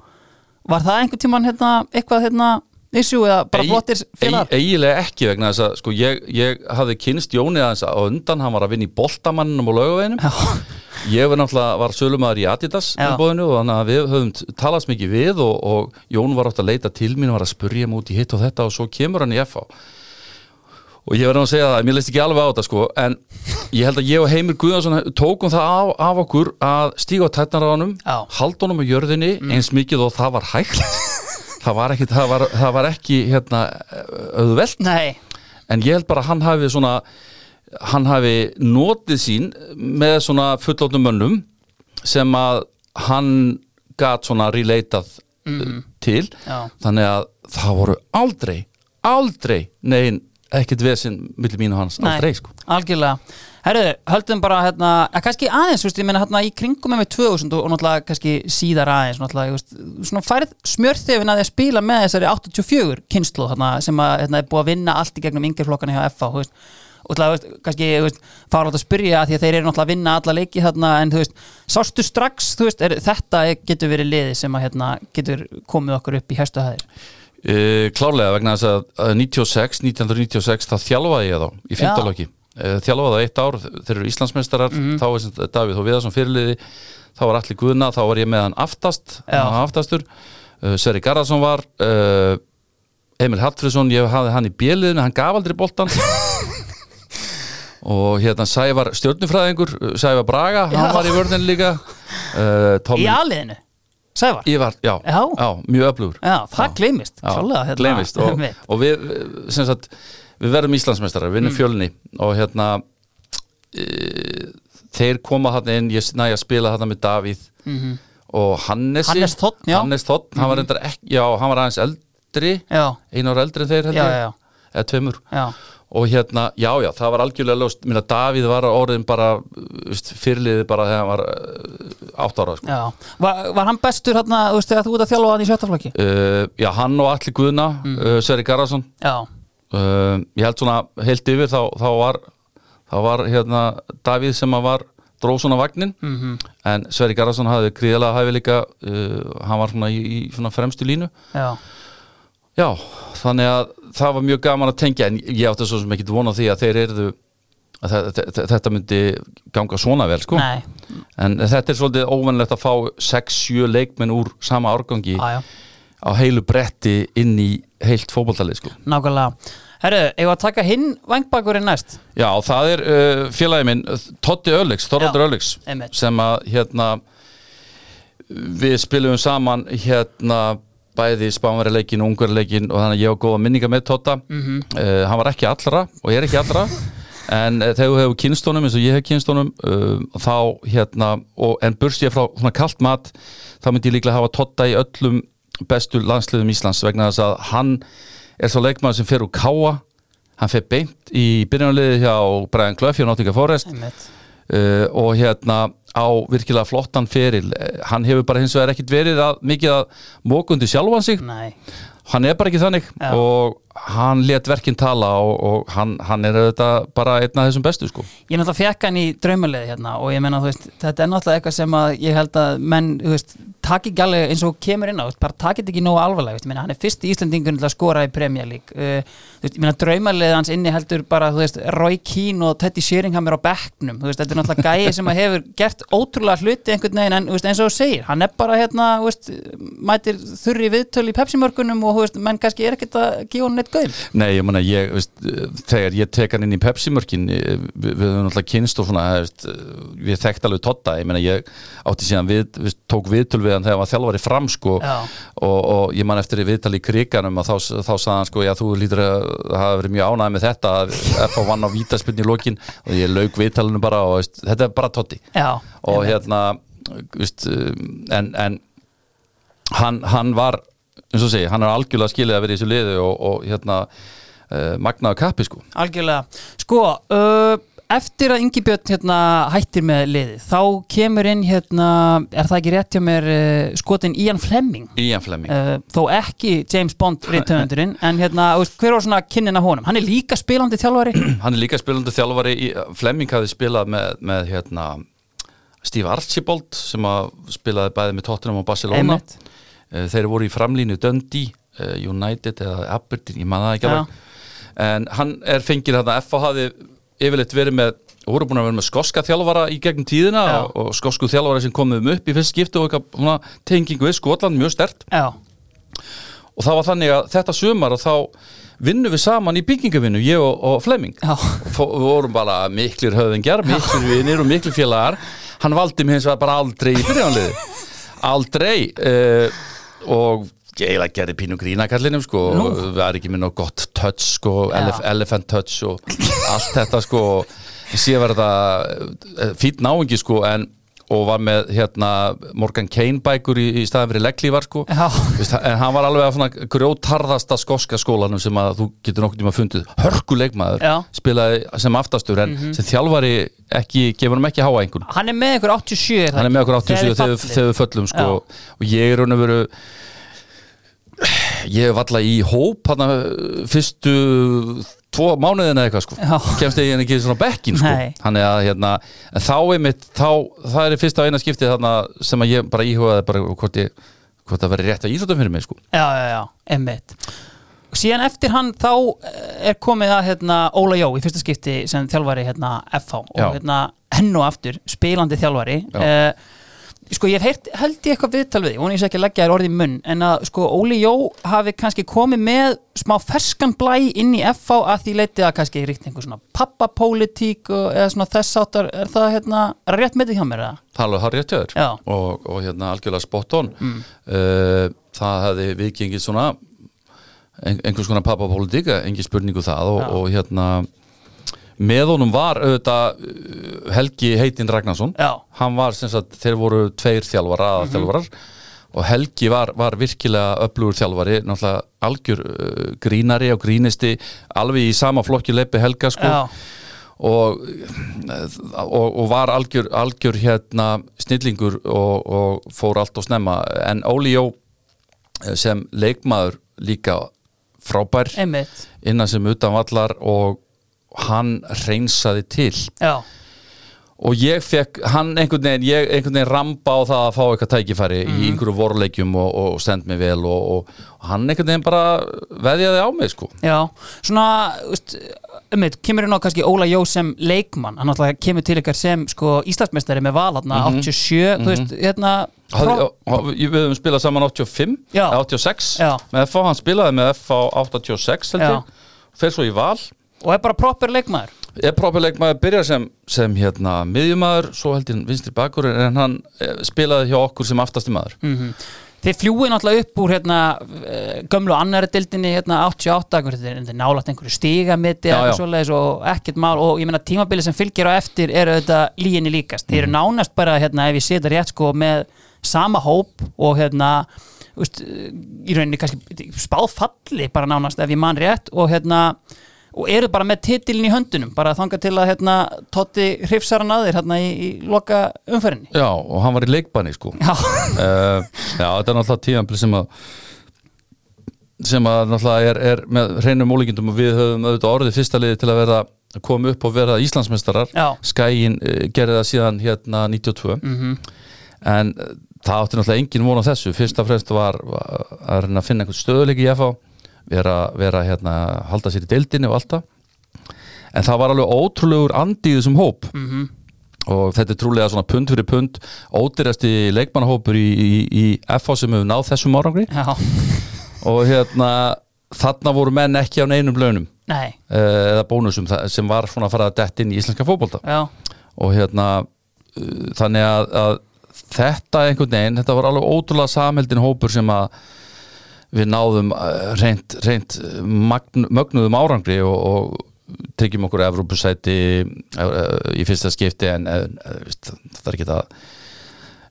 var það einhvern tíman hérna eitthvað hérna issue eða bara flottir félagar? eiginlega ekki vegna þess að sko ég, ég hafði kynst Jóni aðeins á undan hann var að vinna í boltamanninum og laugaveginum Já. ég var náttúrulega var sölumæður í Adidas Já. umbóðinu og þannig að við höfum t- talast mikið við og, og Jón var átt að leita til mín og var að spurja mig út í hitt og þetta og svo kemur hann í FH og ég verði nú að segja það, mér leist ekki alveg á þetta sko en ég held að ég og Heimir Guðansson tókum það af, af okkur að stíga á tætnar á honum, Já. halda honum á jörðinni Mm. eins mikið og það var hægt það var ekki, það var, það var ekki hérna, auðvelt Nei, en ég held bara að hann hafi svona hann hafi notið sín með svona fullóttum mönnum sem að hann gat svona relatað mm. til Já. þannig að það voru aldrei aldrei, nein, ekkert vesinn millir mín og hans, nei, aldrei sko algjörlega Herriður, höldum bara hérna, að kannski aðeins, þú veist, ég meina hérna í kringum með 2000 og, og náttúrulega kannski síðar aðeins náttúrulega, ég veist, svona færð smjörþefin að þið að spila með þessari 84 kynslu hérna, sem að, hérna, er búið að vinna allt í gegnum yngirflokkana hjá FH, þú veist og það, þú veist, kannski, þú veist, fara átt að spyrja af því að þeir eru náttúrulega að vinna alla leiki þarna en þú veist, sástu strax, þú veist, er, þetta getur verið liði sem að, hérna, getur komið okkur upp í hæstu hæðir Uh, klárlega vegna þess að að 96, 1996 þá þjálfaði ég þá í fimmtalöki uh, þjálfaði þá eitt ár, þeir eru Íslandsmeistarar Mhm. þá er sem sagt Davíð og Viðarsson fyrirliði þá var allir guðna, þá var ég með hann aftast Já. hann var aftastur, uh, Sverri Garðarsson var uh, Emil Hallfriðsson ég hafði hann í bjöliðinu, hann gaf aldrei boltan og hérna Sævar stjórnufræðingur uh, Sævar Braga, hann Já. var í vörðin líka uh, Tommy, Í aðliðinu, Sævar ég var, já, Já. mjög öflugur Já, það gleymist Já, klálega, hérna, gleymist og, einmitt. og við, sem sagt, við verðum Íslandsmeistarar, við vinnum Mm. fjölni og hérna e, þeir koma hann inn, ég næja að spila hann með Davíð og Hannesi Mhm. Hannes Þ, já. Mhm. Hannes Þ, hann var reyndar ekki, já, hann var aðeins eldri Já, einar eldri en þeir held Já, ég, já, já. eða tveimur já, og hérna, já, já, það var algjörlega ljóst, minna Davíð var orðin bara fyrirliði bara þegar hann var eh, átta ára, sko já Var, var hann bestur hérna, þú veist, þegar þú ert að þjálfa hann í sjöttaflokki? Uh, já, hann og Alli Guðna, Mm. uh, Sverri Garðarsson Já, uh, ég held svona heilt yfir þá, þá var þá var hérna Davíð sem að var dróð svona vagnin -hmm. en Sverri Garðarsson hafði gríðlega hæfi líka uh, hann var svona í, í svona fremstu línu já, já, þannig að það var mjög gaman að tengja en ég átti svo sem ekkit vona því að þeir erðu að þe- þe- þe- þetta myndi ganga svona vel sko Nei, en þetta er svolítið óvanlegt að fá 6-7 leikmenn úr sama árgangi aðjá, á heilu bretti inn í heilt fótboltalið sko nákvæmlega Herru, eigum við að taka hinn vangbakurinn næst Já, það er uh, félagi minn Totti Öllix, Þorvaldur Já, Öllix einmitt. sem að hérna við spilum saman hérna bæði spánverjuleikin og ungverjuleikin og þannig að ég á góða minninga með Totta uh, hann var ekki allra og ég er ekki allra en uh, þegar þú hefur kynstónum eins og ég hef kynstónum uh, þá hérna og, en burst ég frá svona kalt mat þá myndi ég líklega hafa Totta í öllum bestu landsliðum Íslands vegna þess að hann er svo leikmaður sem fer úr káa hann fer beint í byrjunarliði hjá Brian Clough hjá Nottingham Forest Einmitt. uh, og hérna á virkilega flottan feril Eh, hann hefur bara hins vegar ekkit verið að, mikið að mókundi sjálfan sig Nei, hann er bara ekki þannig Mm. Já. og hann let verkinn tala og, og hann, hann er auðvitað bara einn af þessum bestu sko ég náttúrulega fekk hann í draumalið hérna og ég menna, þú veist, þetta er náttúrulega eitthvað sem að ég held að menn, þú veist, taki ekki alveg eins og hún kemur inn á, þú veist, bara taki þetta ekki nógu alvarlega, þú veist, ég menna, hann er fyrsti Íslandingun til að skora í Premier League, uh, þú veist, ég menna, draumalið hans inni heldur bara, þú veist, Roy Keane og Teddy Sheringham er á bekknum, þú veist, þetta er náttúrulega gæi sem að hefur gert ótrúlega hluti einhvern veginn, en, þú veist, eins og þú segir, hann er bara, hérna, þú veist, mætir þurri viðtöl í Pepsi-mörkunum og, þú veist, menn kannski er ekkert að gefa honum neitt gaum. Nei, ég meina, ég, veist, eh, þegar ég tek hann inn í Pepsi-mörkin eh, við, við höfum alltaf kynst og svona eh, veist, eh, við þekkt alveg Totta, ég meina, ég átti síðan við, veist, tók viðtöl við hann þegar hann var þjálfari fram, sko Já. og, og ég man eftir í viðtal í kriganum að þá, þá sagði hann, sko, já, þú lítur að hafa verið mjög ánægð með þetta að F.A. vann á vítaspinn í lokin og ég lauk viðtalinu bara og veist, þetta er bara Totti Já, og einmitt. hérna, veist, um, en, en hann, hann var eins og segi, hann er algjörlega skilið að vera í þessu liðu og, og hérna uh, magnaðu kappi sko Algjörlega. Sko, uh, eftir að Ingi Björn hérna, hættir með liðið, þá kemur inn, hérna, er það ekki rétt hjá mér, uh, skotin Ian Fleming, Ian Fleming uh, þó ekki James Bond reyndtöfundurinn, en hérna, þú veist, hver var svona kynnin að honum? Hann er líka spilandi þjálfari. hann er líka spilandi þjálfari í, Fleming hafði spilað með, með hérna, Steve Archibald sem að spilaði bæði með Tottenham og Barcelona Einmitt. Eh, þeir voru í framlínu Dundee eh, United eða Aberdeen, ég man það ekki Já. alveg en hann er fengið þarna F.A. hafði yfirleitt verið með voru búin að vera með skoska þjálfara í gegnum tíðina Já. og, og skosku þjálfara sem komum upp í fyrst skipti og eitthvað svona tengingu við Skotland mjög stert Já, og það var þannig að þetta sumar að þá vinnum við saman í byggingavinnu, ég og, og Fleming Já. og fó- við vorum bara miklir höfðingjar, miklir vinir og miklir félagar hann valdi mér hins vegar bara aldrei í byrjanliði aldrei uh, og ég eiginlega gerði pínu grína kallinum sko Nú. og var ekki með nóg gott touch sko, Já. elef, elephant touch og allt þetta sko síðan var þetta fýtt náingi sko en og var með hérna Morgan Kane bækur í, í staðan fyrir legglívar sko Já. Veist, en hann var alveg að svona grjótarðasta skoska skólanum sem að þú getur nokkuð tíma fundið hörkuleikmaður, Já. Mhm. spilaði sem aftastur en sem þjálfari ekki, gefur hann ekki háa einhvern hann er með ykkur 87. er það hann er með ekki? okkur þið 87 þegar, við- fallið. þegar við föllum sko, og ég er raun og veru ég er valla í hóp hann fyrstu tvo mánuðina eða eitthvað sko Já. kemst ég ekki svona bekkin sko Nei. þannig að hérna, en þá einmitt þá, það er fyrsta og eina skiptið þarna sem að ég bara íhugaði bara hvort ég hvort það verið rétt að íþrótum fyrir mig sko Já, já, já, einmitt. Og síðan eftir hann þá eh, er komið að hérna, Óla Jó í fyrsta skipti sem þjálfari hérna, FH og Já. hérna, henn og aftur spilandi þjálfari. Já. Uh, sko ég hef heyrt, held ég eitthvað viðtal við, ég vona ég sé ekki að leggja þér orði í munn, en að sko Óli Jó hafi kannski komið með smá ferskan blæ inn í FH að því leitið að kannski ríkt einhver svona pappapólitík og, eða svona þess áttar, er það hérna rétt með því hjá mér eða? Það er alveg hár rétt hjá þér Já. Mm. og, og hérna algjörlega spot on uh, það hefði vikingið svona ein, einhvers konar pappapólitík engin spurningu það og, Já. og hérna með honum var auðvitað uh, Helgi Heitin Ragnarsson Já. hann var sem sagt, þeir voru tveir þjálfara aða þjálfarar Mhm. og Helgi var, var virkilega öflugur þjálfari náttúrulega algjör uh, grínari og grínisti alveg í sama flokki leipi Helga sko Já, og, og, og var algjör, algjör hérna snillingur og, og fór allt og snemma en Óli Jó eh, sem leikmaður líka frábær einmitt, innan sem utan vallar og hann reynsaði til já, og ég fekk, hann einhvern veginn ég einhvern veginn ramba á það að fá eitthvað tækifæri í einhverju vorleikjum og, og send mig vel og, og, og hann einhvern veginn bara veðjaði á mig sko Já, svona þú veist, ummið, kemur inn á kannski Óla Jó sem leikmann, hann alltaf kemur til ykkar sem sko Íslandsmeistari með val hann 87, þú veist, hérna Hafði, pró- og, og, við höfum spilað saman 85 Já. eða 86 Já. með FH, hann spilaði með FH 86 held Já. ég, fer svo í val og er bara proper leikmaður er propileikmaður byrjar sem, sem hérna miðjumaður, svo held ég vinstri bakur en hann eh, spilaði hjá okkur sem aftasti maður Mm. Þið fljúið náttúrulega upp úr hérna eh, gömlu annari dildinni hérna 88 hvernig þetta er- þetta er nálægt einhverju stigamiti Já, eða já. svoleiðis og ekkert mál og ég meina tímabilið sem fylgir á eftir eru þetta líginni líkast. Þið Mhm. eru nánast bara hérna ef ég setja rétt sko með sama hóp og hérna úst, í rauninni kannski spáfalli bara nánast ef ég man rétt og hérna og eru bara með titilin í höndunum bara þangað til að hérna Totti hrifsar hann að þér hérna í, í loka umferðinni. já, og hann var í leikbanni sko Já, uh, já, þetta er náttúrulega tíðanbli sem að sem að náttúrulega er, er með hreinum ólíkindum og við höfum auðvitað orðið fyrsta liði til að verða að koma upp og verða Íslandsmeistarar Já. Skæin uh, gerði það síðan hérna 92 -hmm. en uh, það átti náttúrulega engin von á þessu fyrst af fremst var, var að reyna að finna einhvern stöðuleik í FH vera, vera hérna, halda sér í deildinni og allt það en það var alveg ótrúlegur andi í þessum hóp og þetta er trúlega svona pund fyrir pund ódýrasti leikmannahópur í, í, í FH sem hefur náð þessum árangri já, og hérna þarna voru menn ekki á neinum launum nei, eh, eða bónusum þa- sem var svona að fara að detta inn í íslenska fótbolta já, og hérna eh, þannig að, að þetta einhvern veginn, þetta var alveg ótrúlega samheldin hópur sem að við náðum eh, reynt, reynt uh, magn, mögnuðum árangri og, og tryggjum okkur Evrópusæti eh, í fyrsta skipti en eh, eh, veist, það er ekki það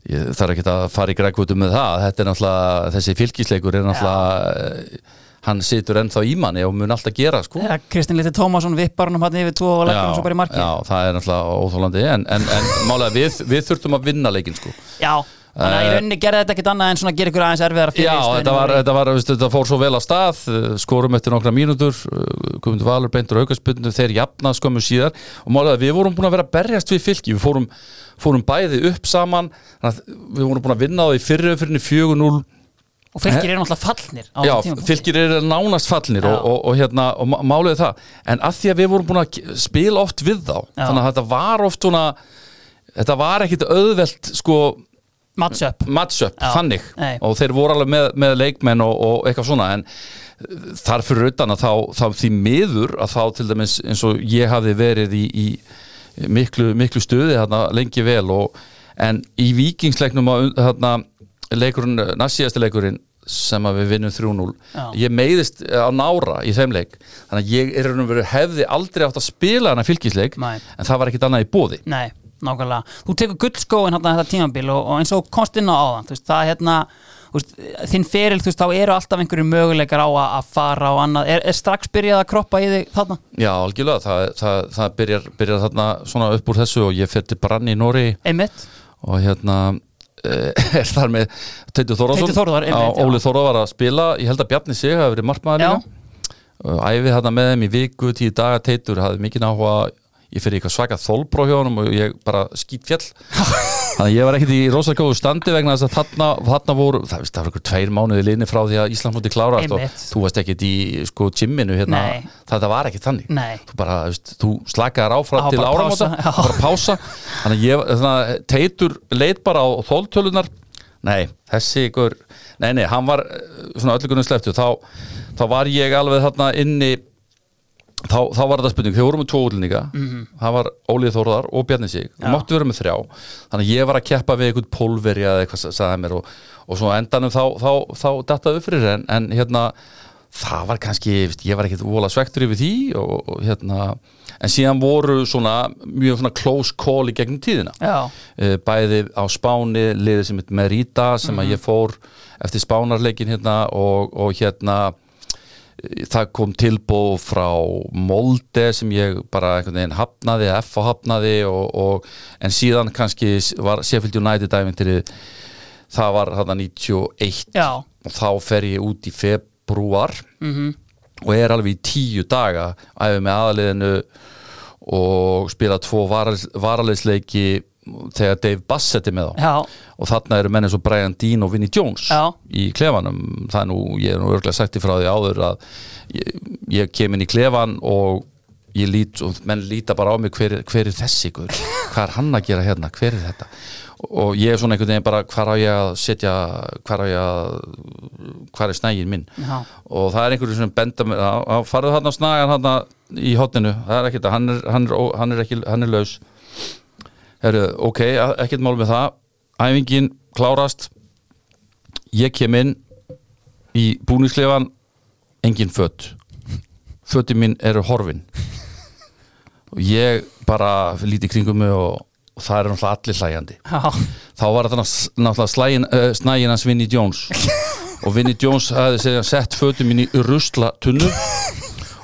ég þarf ekki að fara í grækvutum með það þetta er náttúrulega, þessi fylgisleikur er náttúrulega, eh, hann situr ennþá í manni og mun alltaf gera sko Þegar Kristinn Lítið Tómasson vippar hann um hann yfir tvo og leggur hann svo bara í markið. já, það er náttúrulega óþólandi en, en, en málega við, við þurftum að vinna leikinn sko. Já, þannig að í Eh, rauninni gerði þetta ekkit annað en svona gera ykkur aðeins erfiðara fyrir já, stöðunni þetta, var, eh, og- þetta, var, veist, þetta fór svo vel að stað eh, skorum eftir nokkra mínútur eh, Guðmundur Valur beintur aukaspunnu þeir jafna skömmu síðar og málega við vorum búin að vera að berjast við fylki, við fórum, fórum bæði upp saman þannig að við vorum búin að vinna það í fyriröfyrinni 4-0 Og fylgir eru náttúrulega fallnir á eh, Já, þessum tímapunkti. fylgir eru nánast fallnir Já. og, og, og, hérna, og má- málið er það en að því að við vorum búin að k- spila oft við þá Já. þannig að þetta var oft svona þetta var ekkit auðvelt sko Matchup matchup, Já. þannig Nei. og þeir voru alveg með, með leikmenn og, og eitthvað svona en eh, þar fyrir utan að þá, þá því miður að þá til dæmis eins og ég hafði verið í, í miklu, miklu stuði þarna lengi vel og, en í vikingsleiknum að, þarna, leikurinn, næstsíðasti leikurinn sem að við vinnum 3-0 Já. ég meiðist eh, á nára í þeim leik þannig að ég er raun og veru hefði aldrei átt að spila hana fylgisleik Nei. en það var ekkit annað í bóði Nei, nákvæmlega Þú tekur gullskóin hérna þetta tímabil og, og eins og komst inn á áðan þú veist, Það er hérna þú veist, þinn feril, þú veist, þá eru alltaf einhverju möguleikar á að, að fara og annað er, er strax byrjað að kroppa í þig þarna? Já, algjörlega, það, það, það byrjar, byrjar þarna svona upp úr þessu og ég fer til Brann í Nóri Einmitt? og hérna eh, er þar með Teitur Þorðarsson Teitur Þórðar, einmitt, já. Óli Þorðar var að spila, ég held að Bjarni sig hafi verið markmaður Já. líka. Og æfið þarna með þeim í viku, tíu daga Teitur hafði mikið áhuga, ég fyrir eitthvað svaka þolbró hjá honum og ég bara skýt fjall þannig að ég var ekkert í rosakóðu standi vegna þess að þarna, þarna voru það, veist, það var eitthvað tveir mánuði linni frá því að Ísland múti klára og Einmitt. þú varst ekkert í sko gymminu hérna, Nei. þetta var ekkert þannig Nei. þú bara, þú veist, þú slakaðar áfram Já, til bara áramóta, pása, já. bara pása þannig að ég, þannig að teitur leit bara á þóltölunar nei, þessi ykkur, nei, nei, hann var eh, svona öllugunum sleftu, þá þá var ég alveg þarna inni þá, þá var þetta spurning, þau voru með tvo útlendinga það var Ólið Þórðar og Bjarni Sig Já. og máttu vera með þrjá, þannig að ég var að keppa við einhvern pólveri eða eitthvað sa- sagði hann mér og, og svo á endanum þá, þá, þá, þá dattaðu fyrir en, en hérna það var kannski, veist, ég var ekkert vola svektur yfir því og, og hérna en síðan voru svona mjög svona close call í gegnum tíðina Já, Eh, bæði á Spáni liðið sem heit Merida sem að ég fór eftir Spánarleikin hérna og, og hérna eh, það kom tilbúð frá Molde sem ég bara einhvern veginn hafnaði, F og hafnaði og, og, en síðan kannski s- var Sheffield United æfintir það var þarna 91 já, og þá fer ég út í februar og er alveg í tíu daga æfum með aðaliðinu og spila tvo varaleisleiki þegar Dave Bassett er með á Já, og þarna eru menn eins og Brian Dean og Vinnie Jones Já. í klefanum það er nú, ég er nú örglega sagt í frá því áður að ég, ég kem inn í klefan og ég lít og menn líta bara á mig hver, hver er þessi ykkur, hvað er hann að gera hérna, hver er þetta og ég er svona einhvern veginn bara hvar á ég að setja hvar á ég að hvar er snægin minn Já. og það er einhverju sem benda mér á, á farðu hann að snaga hann í hotninu það er ekkert, hann er, hann er, ó- hann er, ekki, hann er laus Heru, ok, a- ekkert mál með það æfingin klárast ég kem inn í búningslefan engin fött fötti mín eru horfin og ég bara líti í kringum mig og, og það er náttúrulega allir hlæjandi já, þá var þetta náttúrulega slægin, uh, snægin hans Vinnie Jones og Vinnie Jones hafði segja, sett fötum mín í rusla tunnu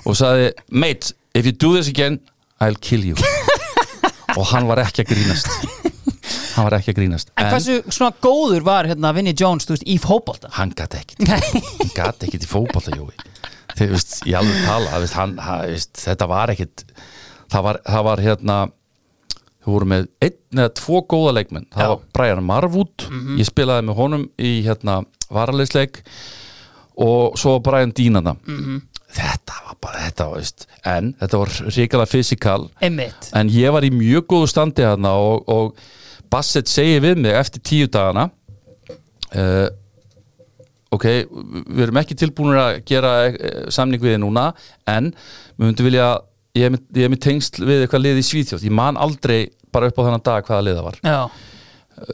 og sagði mate, if you do this again I'll kill you og hann var ekki að grínast hann var ekki að grínast En hversu svona góður var hérna Vinnie Jones, þú veist, í fótbolta? hann gæti ekkit Nei, hann gæti ekkit í fótballta Jói þegar, veist, ég alveg tala það, veist, hann, hann, veist, þetta var ekkit það var, það var hérna við vorum með einn eða tvo góða leikmenn það Já. Mhm. var Brian Marwood ég spilaði með honum í hérna varalegsleik og svo var Brian Dínana Mhm. þetta var bara þetta var, veist, en þetta var ríkala fysikal einmitt en ég var í mjög góðu standi hérna og, og Bassett segir við mig eftir tíu dagana uh, ok, við erum ekki tilbúinir að gera eh, samning við þið núna en við myndum vilja ég er með, ég er með tengsl við eitthvað lið í Svíþjótt ég man aldrei bara upp á þennan dag hvaða lið það var Já,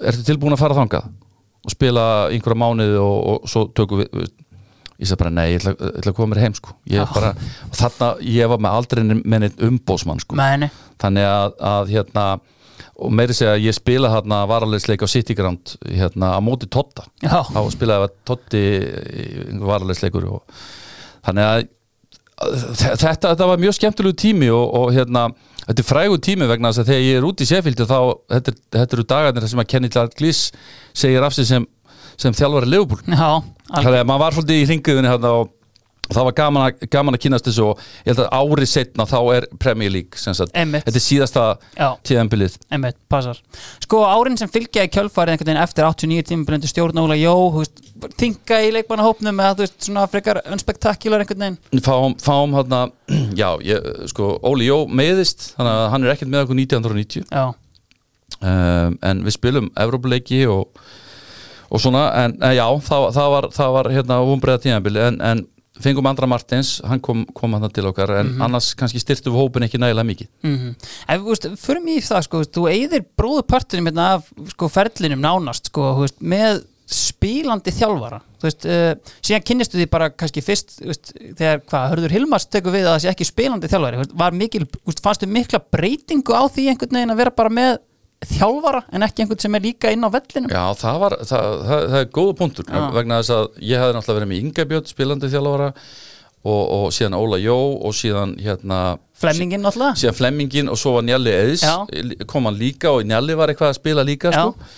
ertu tilbúin að fara þangað og spila einhverja mánuði og, og svo tökum við við- ég sagði bara nei, ég ætla, ég ætla að koma mér heim sko. ég, Já. bara, og þarna, ég var með aldrei með neitt umbósmann sko meni þannig að, að hérna og meiri segja að ég spila hérna varalegsleik á City Ground hérna á móti Totta Já, þá spilaði að Totti varalegsleikur og þannig að að þe- þetta, þetta var mjög skemmtilegu tími og, og hérna, þetta er frægu tími vegna þess að þegar ég er út í Sheffield þá, þetta, er- þetta eru dagarnir þar sem að Kenny Dalglish segir af sig sem, sem þjálfari Liverpool já, alveg Þannig að maður var svolítið í hringuðinni hérna og og það var gaman að, gaman að kynast þessu og ég held að árið setna þá er Premier League sem sagt, Einmitt. þetta er síðasta Já. tíðanbilið Einmitt, passar. Sko, árin sem fylgja í kjölfarið einhvern veginn eftir 89 tímabilundu stjórn Óla Jó, þú veist, þinga í leikmannahópnum eða þú veist, svona frekar unspektakular einhvern veginn. fáum, fáum hérna, já, ég, sko Óli Jó meiðist, þannig að hann er ekkert með okkur 1990 Já, um, en við spilum Evrópuleiki og, og svona en, en já, það, það var, það var hérna umbreyða tíðanbili en, en fengum Andra Martins, hann kom, kom hann til okkar en annars kannski styrtum við hópin ekki nægilega mikið mhm. En, þú veist, förum í það, sko, þú veist, þú eigðir bróðupartinum hérna af, sko, ferlinum nánast, sko, þú veist, með spílandi þjálfara, þú veist, uh, síðan kynnistu því bara kannski fyrst, þú veist, þegar, hvað, Hörður Hilmars tekur við að það sé ekki spílandi þjálfari, þú veist, var mikil, þú veist, fannstu mikla breytingu á því einhvern veginn að vera bara með þjálfara en ekki einhvern sem er líka inn á vellinum? Já, það var, það, það, það er góða punktur Já. vegna þess að ég hefði náttúrulega verið með Inga Björn spilandi þjálfara og, og síðan Óla Jó og síðan hérna Flemmingin náttúrulega? síðan Flemmingin og svo var Njalli Eðis Já. kom hann líka og Njalli var eitthvað að spila líka Já. sko.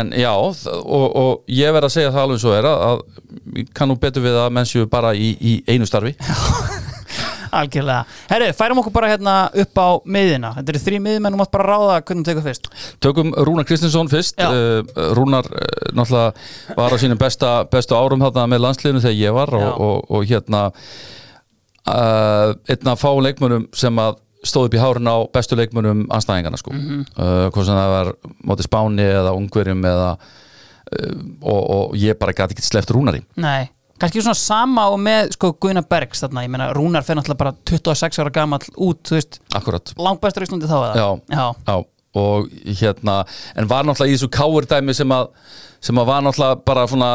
en já, þ- og, og ég verð að segja það alveg svo er að, að ég kann nú betur við að menn séu bara í, í einu starfi Algjörlega. Herru, færum okkur bara hérna upp á miðina. Þetta eru þrý miðmenn og mátt bara ráða hvernig þú tekur fyrst. Tökum Rúnar Kristinsson fyrst Já. uh, Rúnar uh, náttúrulega var á sínum besta, besta árum þarna með landsliðinu þegar ég var og, Já. og, og, hérna uh, einn af fáum leikmönum sem að stóð upp í hárun á bestu leikmönum anstæðingana sko Mhm. uh, hvort sem það var móti Spáni eða Ungverjum eða uh, og, og ég bara gæti ekki sleppt Rúnari Nei. Kannski svona sama og með sko Guðna Bergs þarna. Ég meina, Rúnar fer náttúrulega bara 26 ára gamall út, þú veist, akkurat langbæstur í Íslandi þá eða? Já. Já. Já, og hérna en var náttúrulega í þessu káurdæmi sem að sem að var náttúrulega bara svona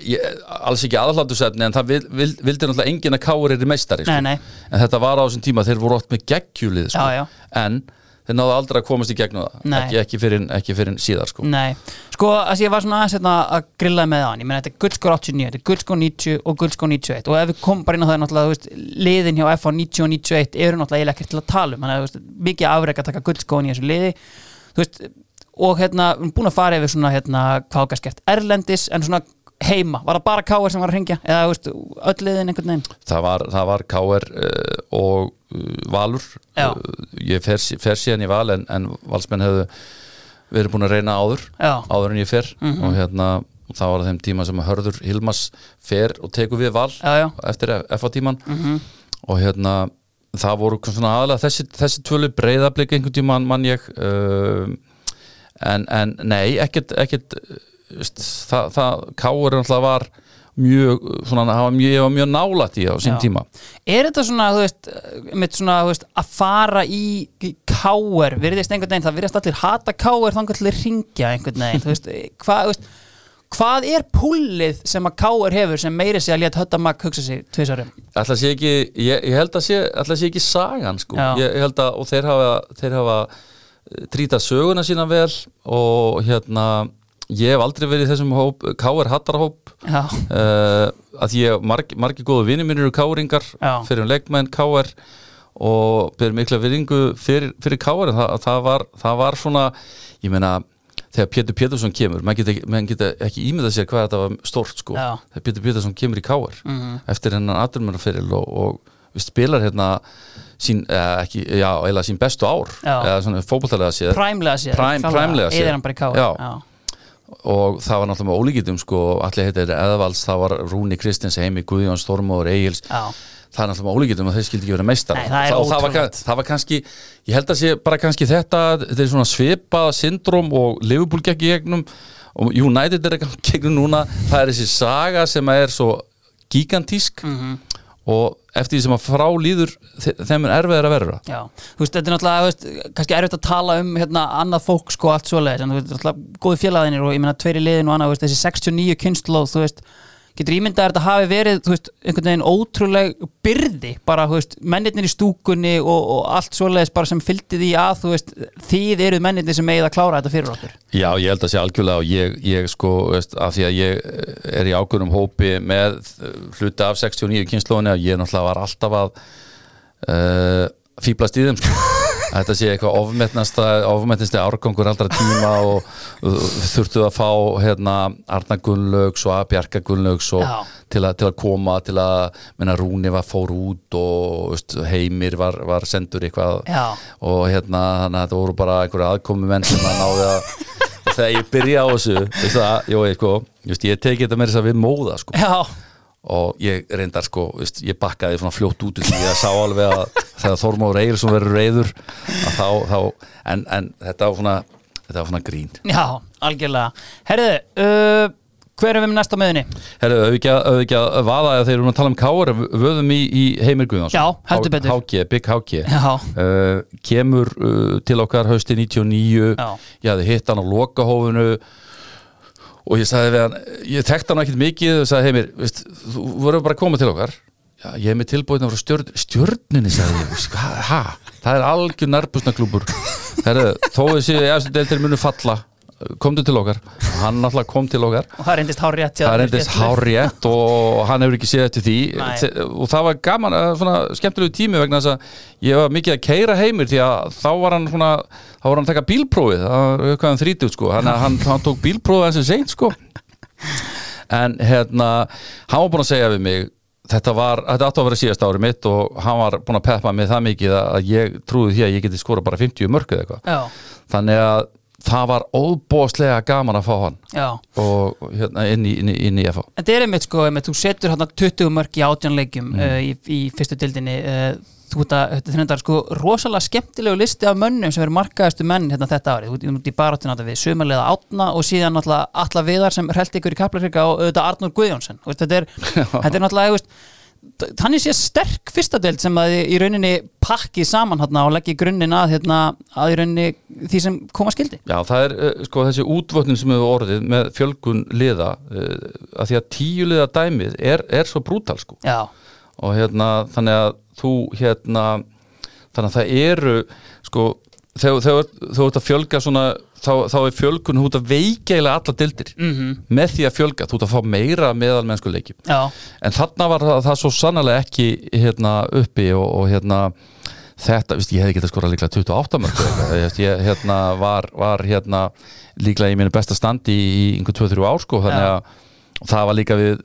ég, alls ekki aðhlátusefni en það vil, vil, vildi náttúrulega enginn að káur er í meistari sko. Nei, nei. en þetta var á þessum tíma þeir voru oft með geggjulið sko. Já, já. en þeir náðu aldrei að komast í gegnum það Nei. ekki, ekki, fyrir, ekki fyrir síðar sko. Nei. Sko, þessi ég var svona aðeins hérna að grilla með hann. Ég meina, þetta er guldskór 89, þetta er guldskór 90 og guldskór 91. Og ef við komum bara inn á það, náttúrulega, þú veist, liðin hjá FH 90 og 91 eru náttúrulega eiginlega ekkert til að tala um. Þannig að, þú veist, mikið afreg að taka guldskóin í þessu liði. Þú veist, og hérna, við erum búin að fara yfir svona, hérna, hvað okkar skert erlendis, en svona heima? Var það bara K.R. sem var að ringja? Eða þú veist, öll liðin einhvern veginn? það var, það var KR uh, og uh, Valur Já. uh, ég fer, sí- fer síðan í Val en, en valsmenn hefðu verið búin að reyna áður Já. áður en ég fer Mhm. og hérna það var á þeim tíma sem að Hörður Hilmas fer og tekur við Val Já, Mhm. já. eftir FA tíman og hérna það voru svona aðalega þessi, þessi tvölu breyðablik einhvern tíman mann ég uh, en, en nei, ekkert, ekkert uh, st- það, það Káur náttúrulega var mjög, svona, það var mjög, ég var mjög nálætt í það á sín Já. tíma Er þetta svona, þú veist, mitt svona, þú veist, að fara í K.R. virðist einhvern veginn, það virðist allir hata K.R. þangar til að ringja einhvern veginn, þú veist, hvað, þú veist, hvað er púlið sem að K.R. hefur sem meiri sig að létt höttamak hugsa sig um? tvisarum? Ætla sé ekki, ég, ég held að sé ætla sé ekki sagan sko Já. ég, ég held að, og þeir hafa, þeir hafa eh, trýta söguna sína vel og hérna ég hef aldrei verið í þessum hóp, K.R. Hattarhóp Já, uh, að ég, marg, margir góðu vinir mínir eru K.R.ingar Já. fyrir um leikmenn K.R. og ber mikla viringu fyrir, fyrir K.R. en það, það, var, það var svona ég meina, þegar Pétur Pétursson kemur menn geta, ekki- menn geta ekki ímyndað sér hvað þetta var stórt sko, Já. þegar Pétur Pétursson kemur í K.R. Mhm. eftir hennan aðdurmennarferil og, og við spilar hérna sín, eh, ekki, já, eða sín bestu ár Já. eða svona fótboltalega séð præmlega sér Prime- præmlega séð. Eðir hann bara í K.R. Já. og það var náttúrulega með ólíkitum sko, allir heitir Eðvalds, það var Rúni Kristins Heimi, Guðjón Stormóður, Egils Já. það er náttúrulega með ólíkitum að þeir skildi ekki vera meistar Nei, það er það, var, ótrúlegt. kann- það var kannski, ég held að sé bara kannski þetta, þetta er svona svipað syndrom og Liverpool gekk í gegnum og United er ekki í gegnum núna það er þessi saga sem er svo gigantísk Mhm. og eftir því sem að frá líður þe- þeim er erfiðar að vera Já, þú veist, þetta er náttúrulega, þú veist, kannski erfitt að tala um hérna annað fólk sko allt svoleiðis en þú veist, náttúrulega góði félaginir og ég meina tveiri liðin og annað, þú veist, þessi 69 kynnslóð, þú veist, getur ímyndað að þetta hafi verið, þú veist, einhvern veginn ótrúleg byrði, bara, þú veist, mennirnir í stúkunni og, og allt svoleiðis bara sem fylgdi því að, þú veist, þið eruð mennirnir sem eigið að klára þetta fyrir okkur. Já, ég held að sé algjörlega og ég, ég sko, veist, af því að ég eh, er í ákvörnum hópi með eh, hluta af 69 kynslóðinni að ég náttúrulega var alltaf að uh, fýblast í þeim sko. Þetta sé eitthvað ofmetnasta ofmetnasti árgangur allra tíma og uh, þurftu að fá hérna, Arna Gunnlaugs og Bjarka Gunnlaugs og Já. til, að, til að koma til að menna, Rúni var fór út og veist, Heimir var, var sendur eitthvað Já. og hérna þannig að þetta voru bara einhverja aðkomi menn sem að náði að og þegar ég byrja á þessu veist það, jó, ég, sko, just, ég teki þetta með þess að við móða sko. Já, og ég reyndar sko, veist, ég bakkaði svona fljótt út úr því að sá alveg að þegar Þormóður Egilson verður reyður að þá, þá, en, en þetta var svona þetta var svona grín já, algjörlega. Herðu, uh, hver er við með næst á miðunni? Herðu, auðvitað ekki, að- auðvitað ekki að vaða að þeir eru að tala um káar vöðum í, í Heimir Guðjóns Já, heldur betur. HG, Big HG Já. uh, kemur uh, til okkar hausti 99 Já. ég hafði hitt hann á lokahófinu og ég sagði við hann ég tekta hann ekkert mikið og sagði Heimir veist, þú verður bara að koma til okkar Já, ég hef með tilbúin að frá stjörn, stjörninni sagði ég, veist, ha, ha, það er algjör nærbúsnaklúbur Herðu, þó þessi efstu deildir munu falla komdu til okkar, hann náttúrulega kom til okkar Og það reyndist hár rétt. hjá það þér, reyndist Pétur. hárétt og hann hefur ekki séð eftir því Nei. Þe- og það var gaman, eh, svona skemmtilegu tími vegna þess að ég var mikið að keira heimir því að þá var hann svona þá var hann að taka bílprófið, það var eitthvað hann 30 sko, hann, hann, hann tók bílprófið hans sem seint sko en hérna, hann var búinn að segja við mig þetta var, þetta átti að vera síðast ári mitt og hann var búinn að peppa mig það mikið að- að ég trúði því að ég geti skora bara 50 mörg eða eitthvað, Já, þannig að það var óbóðslega gaman að fá hann já. og hérna inn í, inn í, inn í FH En þetta er einmitt sko, einmitt, þú setur hérna 20 mörg í átjónleikjum mm. í, í fyrstu dildinni uh, þú ert að, þetta er þetta sko rosalega skemmtilegu listi af mönnum sem eru markaðastu menn hérna þetta árið, þú ert- þú ert í baráttin átta við sumarlega átna og síðan náttúrulega alla viðar sem held ykkur í Kaplakrika og auðvitað Arnur Guðjónsson Þú veist, þetta er, þetta er náttúrulega þú veist, t- þannig sé sterk fyrsta deild sem að þið í rauninni pakki saman hérna, og leggji grunninn að, hérna, að í rauninni því sem koma skildi Já, það er eh, sko þessi útvötnin sem hefur orðið með fjölgun liða uh, að því að tíu liða dæmið er, er svo brútal sko Já, og hérna þannig að þú hérna þannig að það eru sko þegar þegar- þegar þú ert að fjölga svona þá, þá er fjölgun þú ert að veikja eiginlega alla dildir -hmm. með því að fjölga, þú ert að fá meira meðal mennsku leikjum já, en þarna var það, það svo sannlega ekki hérna uppi og, og hérna þetta, víst, ég hefði getað skorað líklega 28 mörg ég hérna var, var hérna líklega í mínu besta standi í einhver 2-3 ár sko, Já. þannig að og það var líka við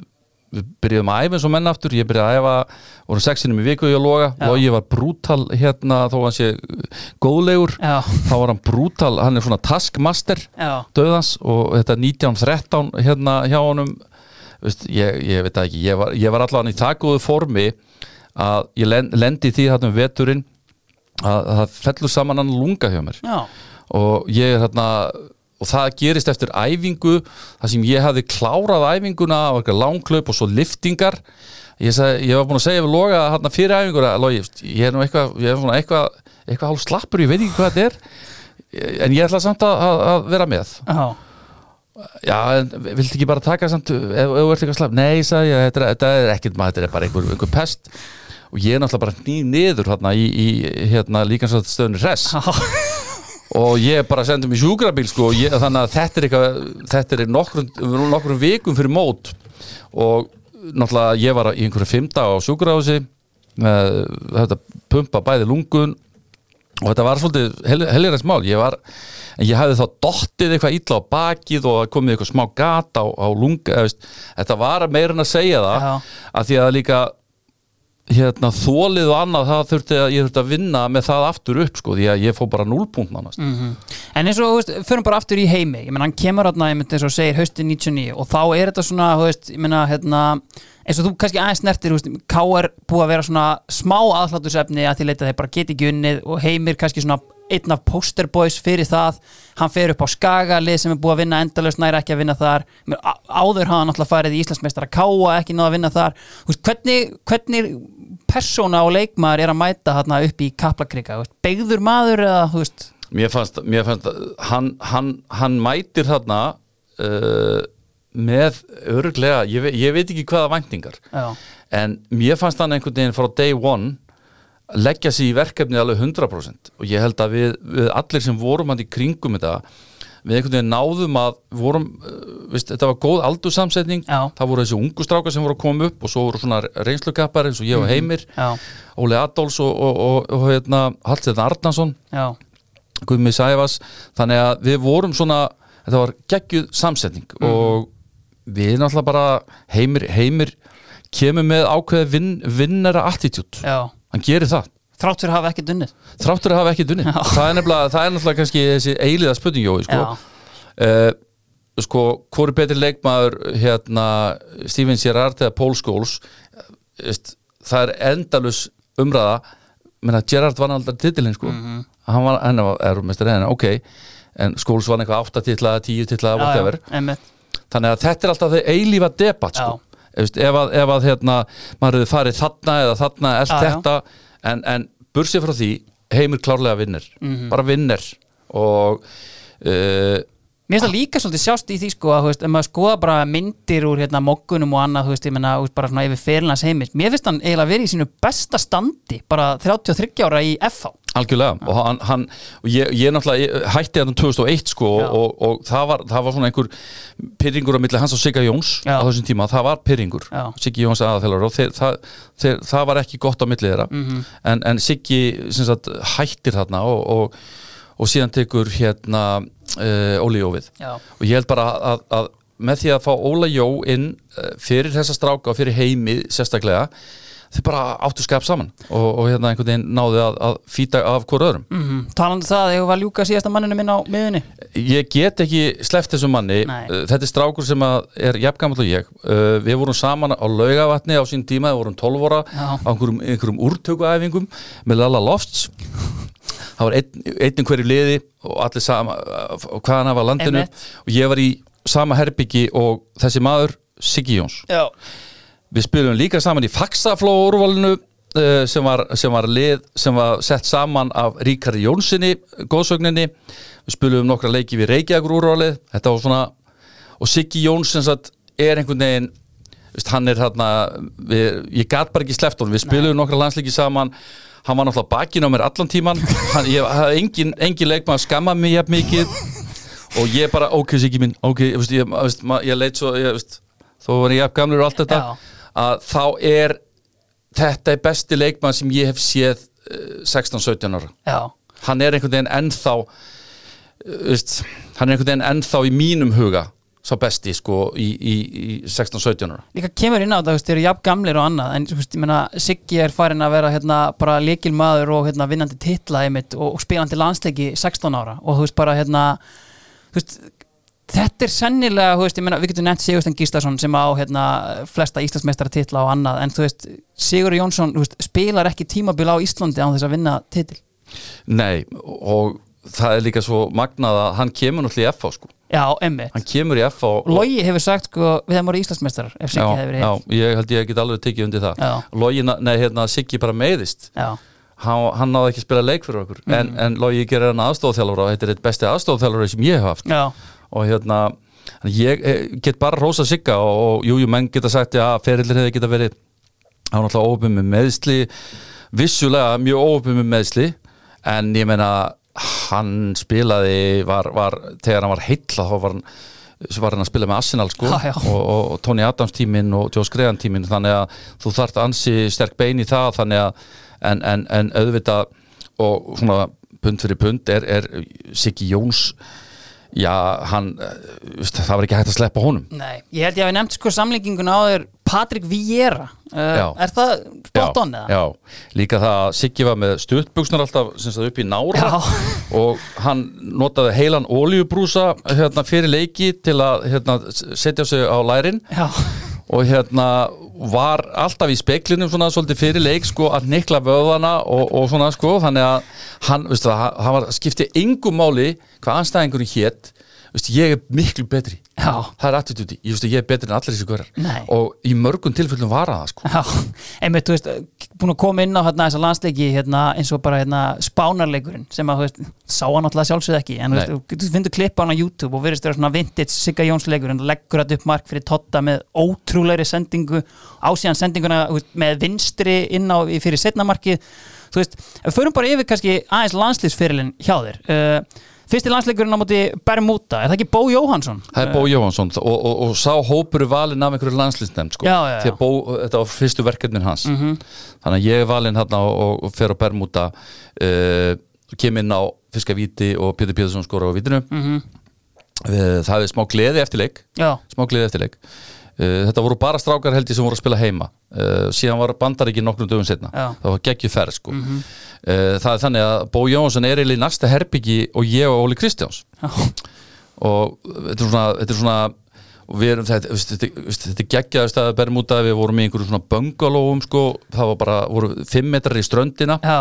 við byrjuðum að æfa eins og menn aftur ég byrjaði að æfa, vorum sexinum í viku ég og Loga, Já. Logi var brútal hérna þó hann sé góðlegur Já, þá var hann brútal, hann er svona taskmaster já, döðans og þetta 1913 hérna hjá honum veist, ég, ég veit það ekki, ég var, ég var allan í það góðu formi að ég len- lendi í því þarna um veturinn að að það fellur saman hann lunga hjá mér já, og ég er þarna og það gerist eftir æfingu þar sem ég hafði klárað æfinguna og eitthvað langklaup og svo liftingar ég, sag, ég var búin að segja við Loga þarna fyrir æfinguna Logi, ég er nú eitthvað ég er svona eitthvað, eitthvað hálf slappur, ég veit ekki hvað þetta er en ég ætla samt að, að, að vera með já. Já, en viltu ekki bara taka samt ef ef þú ert eitthvað slapp? Nei, sagði ég, þetta er, þetta er ekkert maður, þetta er bara einhver, einhver pest og ég er náttúrulega bara ný niður hérna í, í hérna, líkansvöldastöðunni hress og ég bara sendi mig sjúkrabíl sko og ég, þannig að þetta er, eitthvað, þetta er nokkrum, nokkrum vikum fyrir mót og náttúrulega ég var í einhverju fimm dag á sjúkrahúsi með þetta pumpa bæði lungun og þetta var svolítið helgirins mál ég var, en ég hafði þá dottið eitthvað illa á bakið og það komið eitthvað smá gata á, á lunga, eða veist, þetta var meira en að segja það Já. að því að líka hérna, þólið og annað það þurfti að ég þurfti að vinna með það aftur upp sko, því að ég fór bara núlpunkt nánast Mhm. En eins og, þú veist, förum bara aftur í heimi Ég menn, hann kemur þarna, ég myndi eins og segir haustið 99 og þá er þetta svona, þú veist, ég menna hérna, eins og þú kannski aðeins snertir þú veist, KR búið að vera svona smá aðhlátusefni að því leita þeir bara geti ekki unnið og heimir kannski svona einn af posterboys fyrir það, hann fer upp á Skaga lið sem er búið að vinna endalaust næri ekki að vinna þar Ég meina, á- áður hafa hann alltaf farið í Íslandsmeistar að káa ekki náða að vinna þar Þú veist, hvernig, hvernig persóna og leikmaður er að mæta þarna upp í Kaplakrika Þú veist, beigður maður eða þú veist, mér fannst, mér fannst að hann, hann, hann mætir þarna uh, með öruglega, ég, ve- ég veit ekki hvaða væntingar já en mér fannst hann einhvern veginn frá day one leggja sig í verkefnið alveg 100% og ég held að við, við allir sem vorum hann í kringum þetta við einhvern veginn náðum að vorum, uh, veist, þetta var góð aldursamsetning Já. það voru þessi ungu strákar sem voru að koma upp og svo voru svona reynslukappar eins og ég og Heimir Mhm. Já, Óli Adolfs og, og, og, og hérna, Hallsteinn Arnason já, Guðmi Sæfas þannig að við vorum svona þetta var geggjuð samsetning Mhm. og við náttúrulega bara heimir, heimir kemur með ákveði vin, vinnara attitút já hann gerir það, Þrátt fyrir að hafa ekki dunnið þráttur að hafa ekki dunni Já. það er, nefnilega, það er náttúrulega kannski þessi eiliða spurningjói sko. Já. uh, sko, hvor er betri leikmaður hérna, Steven Gerrard eða Paul Scholes Eh, Veist, það er endalus umræða menna Gerrard vann aldrei titilinn sko Mhm. hann var, hann var erumestari henni, ok en Scholes vann eitthvað 8 titla, 10 titla whatever, já, einmitt þannig að þetta er alltaf þau eilífa debatt sko Þú veist, ef að, ef að hérna, maður hefur farið þarna eða þarna, allt Já, já. þetta en, en bursið frá því, heimur klárlega vinnir Mhm. bara vinnir og uh, Mér finnst það líka svolítið sjást í því sko að, þú veist, ef maður skoða bara myndir úr hérna mokkunum og annað, þú veist, ég menna, þú veist, bara svona yfir fyrirlans heimis. Mér finnst hann eiginlega verið í sínu besta standi, bara 33 ára í FH. Algjörlega, og hann, hann og ég, ég náttúrulega ég hætti hann 2001 sko Já. og, og, og það, var, það var svona einhver pyrringur á milli hans og Sigga Jóns Já. á þessum tíma, það var pyrringur Já. Siggi Jóns aðaþjálfur og þeir, það, þeir, það var ekki gott á milli þeirra Mhm. en, en Siggi sem sagt, hættir þarna og, og, og síðan tekur hérna uh, Óli Jófið Já. og ég held bara að, að með því að fá Óla Jó inn eh, fyrir þessa stráka og fyrir heimi sérstaklega þau bara áttu skap saman og, og hérna einhvern veginn náðu að, að fýta af hver öðrum Mm Talandi um það, þegar var ljúka síðasta manninu minn á miðunni. ég get ekki sleppt þessum manni Nei. Uh, þetta er strákur sem að er jafngamall og ég uh, við vorum saman á laugavatni á sín tíma, við vorum 12 ára Já. á einhverjum, einhverjum úrtökuæfingum með Lala Lofts það var einn, einn hverju liði og allir sama, uh, hvaðan af að landinu Einmitt. og ég var í sama herbyggi og þessi maður, Siggi Jóns Já. Við spilum líka saman í Faxaflóa úrvalinu eh, sem var, sem var lið sem var sett saman af Ríkari Jónssoni, góðsögninni við spilum nokkra leiki við Reykjavíkur úrvalið þetta var svona og Siggi Jónsson satt, er einhvern veginn veist, hann er þarna við, ég gat bara ekki sleppt honum, við spilum nokkra landsleiki saman hann var náttúrulega bakinn á mér allan tíman hann, ég hafði engin, engin leikmaður skammað mig jafn mikið og ég bara, ok, Siggi minn ok, ég, veist, ég, veist, ma- ég leit svo ég, veist, þó var ég jafn gamlur og allt þetta Já. að þá er þetta er besti leikmann sem ég hef séð eh, 16-17 ára Já. hann er einhvern veginn ennþá eh, veist, hann er einhvern veginn ennþá í mínum huga sá besti sko í, í, í 16-17 ára líka kemur inn á þetta, þú veist, þeir eru jafn gamlir og annað en þú veist, ég meina, Siggi er farin að vera hérna, bara leikilmaður og hérna, vinnandi titla einmitt og, og spilandi landsleiki 16 ára og þú veist bara hérna þú veist, þetta er sennilega þú veist, ég meina, við getum nefnt Sigurstein Gíslason sem á hérna, flesta Íslandsmeistara titla og annað en þú veist, Sigur Jónsson þú veist, spilar ekki tímabil á Íslandi án þess að vinna titil Nei, og það er líka svo magnað að hann kemur náttúrulega í FH sko Já, emmitt hann kemur í FH og- Logi hefur sagt, sko, við hefum voru Íslandsmeistarar ef Siggi hefur já, verið ég held ég get alveg tekið undir það Já. Logi, na- nei hérna Siggi bara meiðist Já, hann, hann náði ekki að spila leik fyrir okkur en, en Logi gerir hann aðstofþjálfur og þetta er eitt besti aðstofþjálfur sem ég hef haft já, og hérna þannig ég eh, get bara rosa Sigga og, og jú, jú, menn geta sagt að ferillir hefði geta verið hann alltaf óöfum með meðsli vissulega mjög óöfum með meðsli en ég meina hann spilaði var, var, þegar hann var heilla þá var hann svo var hann að spila með Arsenal sko Já, já. og, og, og Tony Adams tíminn og Joe Gregan tíminn þannig að þú þarft ansi sterk bein í það þannig að en, en, en auðvitað og svona pund fyrir pund er, er Siggi Jóns já, hann eh, veist, það var ekki hægt að sleppa honum nei Ég held ég hafi nefnt sko samlinginguna á þér Patrik Vieira Já. uh, Er það spot on já, eða? já, líka það að Siggi var með stuttbuksnar alltaf sem það upp í nára Já. og hann notaði heilan olíubrúsa hérna, fyrir leiki til að hérna, s- setja sig á lærin Já, og hérna var alltaf í speklinum svona svolítið fyrir leik sko að nikla vöðana og, og svona sko þannig að hann, veistu það, hann var, skipti engum máli hvað anstæðingurinn hétt veistu, ég er miklu betri Já. það er attitúti, ég veistu, ég er betri en allir þessi Nei. hverjar og í mörgum tilfellum var hann það sko já, einmitt, þú veist, búin að koma inn á hérna þessa landsleiki hérna eins og bara hérna spánarleikurinn sem að, þú veist, sá hann alltaf sjálfsögð ekki en þú veist, Nei. þú- þú finnur klippa hann á YouTube og verðist vera svona vintage Sigga Jónsleikurinn leggur þetta upp mark fyrir Totta með ótrúleiri sendingu ásíðan sendinguna þú veist, með vinstri inn á í- fyrir setnamarkið, þú veist, ef við förum bara yfir kannski aðeins landslýsfyrirlin hjá þér uh, Fyrsti landsleikurinn á móti Bermuda, er það ekki Bó Jóhansson? Það er Bó Jóhansson og, og, og sá hópur er valinn af einhverju landslýstnefnd sko. Já, já, Mhm. já. því að Bó, þetta var fyrstu verkefnin hans þannig að ég er valinn hérna og, og fer á Bermuda uh, kem inn á Fiskavíti og Pétur Pétursson skora á Vítinu mm Mhm. -hmm. það er smá gleði eftir leik Já, smá gleði eftir leik uh, þetta voru bara strákar held ég sem voru að spila heima uh, síðan var bandaríkin nokkrum dögum setna Já. Mhm. það var geggju ferð sko. uh, það er þannig að Bó Jóhansson er eiginlega í næsta herbyggi og ég og Óli Kristjáns já, og þetta er svona, þetta er svona og við erum þetta, veist, þetta, veist, þetta geggjaði staðið Bermuda, við vorum í einhverjum svona böngalóum sko, það var bara, voru fimm metrar í ströndina já,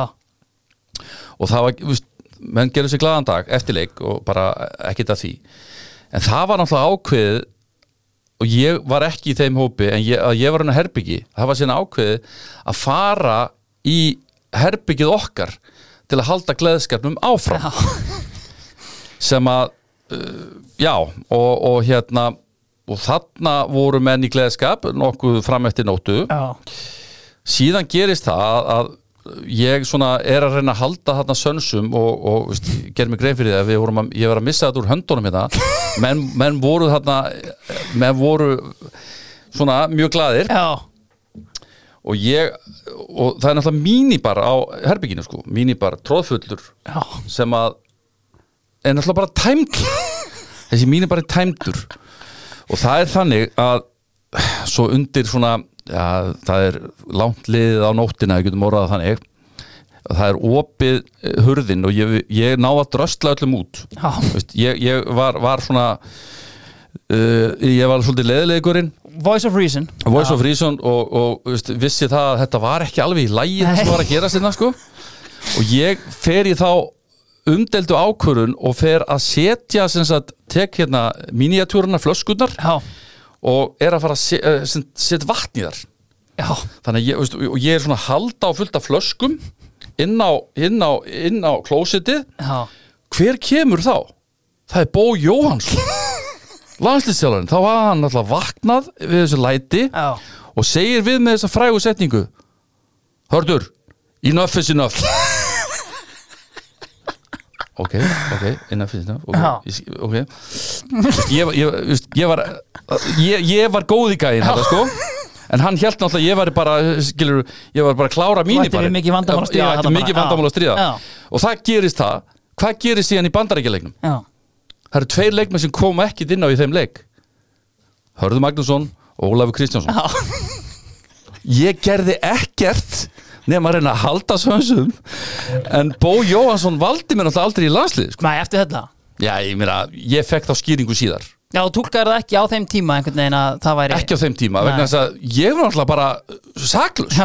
og það var, veist, menn gerðu sér glaðan dag eftir leik og bara ekkert að því en það var náttúrulega ákveðið og ég var ekki í þeim hópi en ég, að ég var hann að herbyggi það var síðan ákveðið að fara í herbyggið okkar til að halda gleðskapnum áfram já. sem að uh, já og, og hérna og þarna voru menn í gleðskap nokkuð fram eftir nóttu já. síðan gerist það að, að ég svona er að reyna að halda þarna sönsum og, og veist, gerð mig grein fyrir það við vorum að, ég var að missa þetta úr höndunum hérna menn, menn voru þarna menn voru svona mjög glaðir Já, og ég og það er náttúrulega mínibar á herbygginu sko, mínibar tróðfullur já, sem að er náttúrulega bara tæmdur þessi mín er bara tæmdur og það er þannig að svo undir svona ja, það er langt liðið á nóttina við getum orðað það þannig það er opið eh, hurðin og ég, ég ná að drösla öllum út já, Veist, ég, ég var, var svona uh, ég var svolítið leðilegurinn Voice of Reason Voice já. of Reason og, og veist, vissi það að þetta var ekki alveg í lægi Nei. sem var að gera sinna sko og ég fer í þá umdeldu ákvörun og fer að setja sem sagt, tek hérna miniatúruna flöskunar Já, og er að fara að se- eh, sem sagt, setja vatn í þar já, þannig að ég, veist, og ég er svona að halda á fullt af flöskum inn á, inn á, inn á klósitið já hver kemur þá? Það er Bó Jóhansson landslýstjálfarinn, þá var hann alltaf vaknað við þessu læti Já. og segir við með þessa frægu setningu Hörður, enough is enough Ok, ok, enough is enough Ok, Já. ég sk- okay. Vist, ég, ég, vist, ég, var, ég, ég var góð í gæðin þetta sko En hann held náttúrulega að ég var bara, skilur, ég var bara að klára mín ættir við mikið vandamál að stríða Já, ætti þarna mikið bara. Já. vandamál að stríða Já. Og það gerist það, hvað gerist síðan í bandarækjaleiknum? Já, það eru tveir leikmenn sem koma ekki inn á í þeim leik Hörður Magnússon og Ólafur Kristjánsson ég gerði ekkert nema að reyna að halda svönsum en Bó Jóhansson valdi mér náttúrulega aldrei í landslið sko. Mæ, eftir þetta já, ég meina, ég fekk þá skýringu síðar Já, þú túlkaður það ekki á þeim tíma einhvern veginn að það væri ekki á þeim tíma, Nei. vegna þess að ég var náttúrulega bara saklus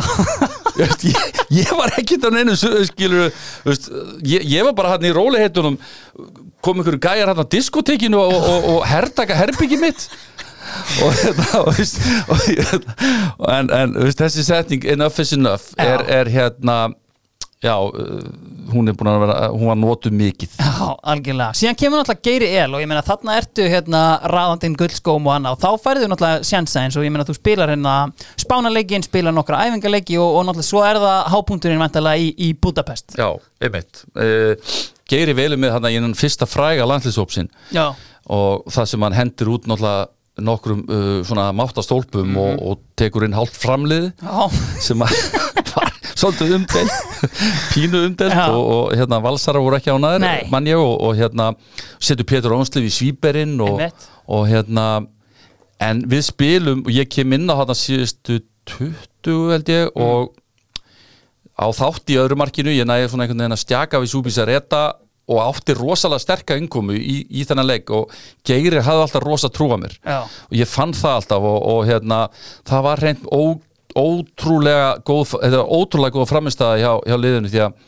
Veist, ég, ég var ekkert á neinu skilur, veist, ég, ég var bara hann í róliheitunum kom einhverju gæjar hann á diskotekinu og, og, og hertaka herbyggi mitt og þetta og, veist, og, hérna, en, en veist, þessi setning enough is enough er, Já. er hérna já, uh, hún er búin að vera hún var notuð mikið Já, algjörlega. Síðan kemur náttúrulega Geiri El og ég meina þarna ertu hérna ráðandinn gullskóm og annað og þá færðu náttúrulega sjansa eins og ég meina þú spilar hérna spánarleikin, spilar nokkra æfingarleiki og, og náttúrulega svo er það hápunkturinn vantalega í, í Budapest. já, einmitt uh, Geiri velum með hann í hennan fyrsta fræga landslýsópsin Já, og það sem hann hendir út náttúrulega nokkrum uh, svona máttastólpum og, og tekur inn hálft framlið já, sem að var svolítið umdelt pínu umdelt Já. og, og hérna valsara voru ekki Nei. ánæður mann ég og, og hérna setur Pétur Ónslif í svíberinn og, Einmitt. og hérna en við spilum og ég kem inn á hérna síðustu 20 held ég Mm. og á þátt í öðru markinu ég næði svona einhvern veginn að stjaka við Súbísa Reta og átti rosalega sterka innkomu í, í þennan leik og Geiri hafði alltaf rosa trúa mér já. og ég fann það alltaf og, og hérna, það var reynd ó, ótrúlega góð þetta var ótrúlega góð framistæða hjá, hjá liðinu því að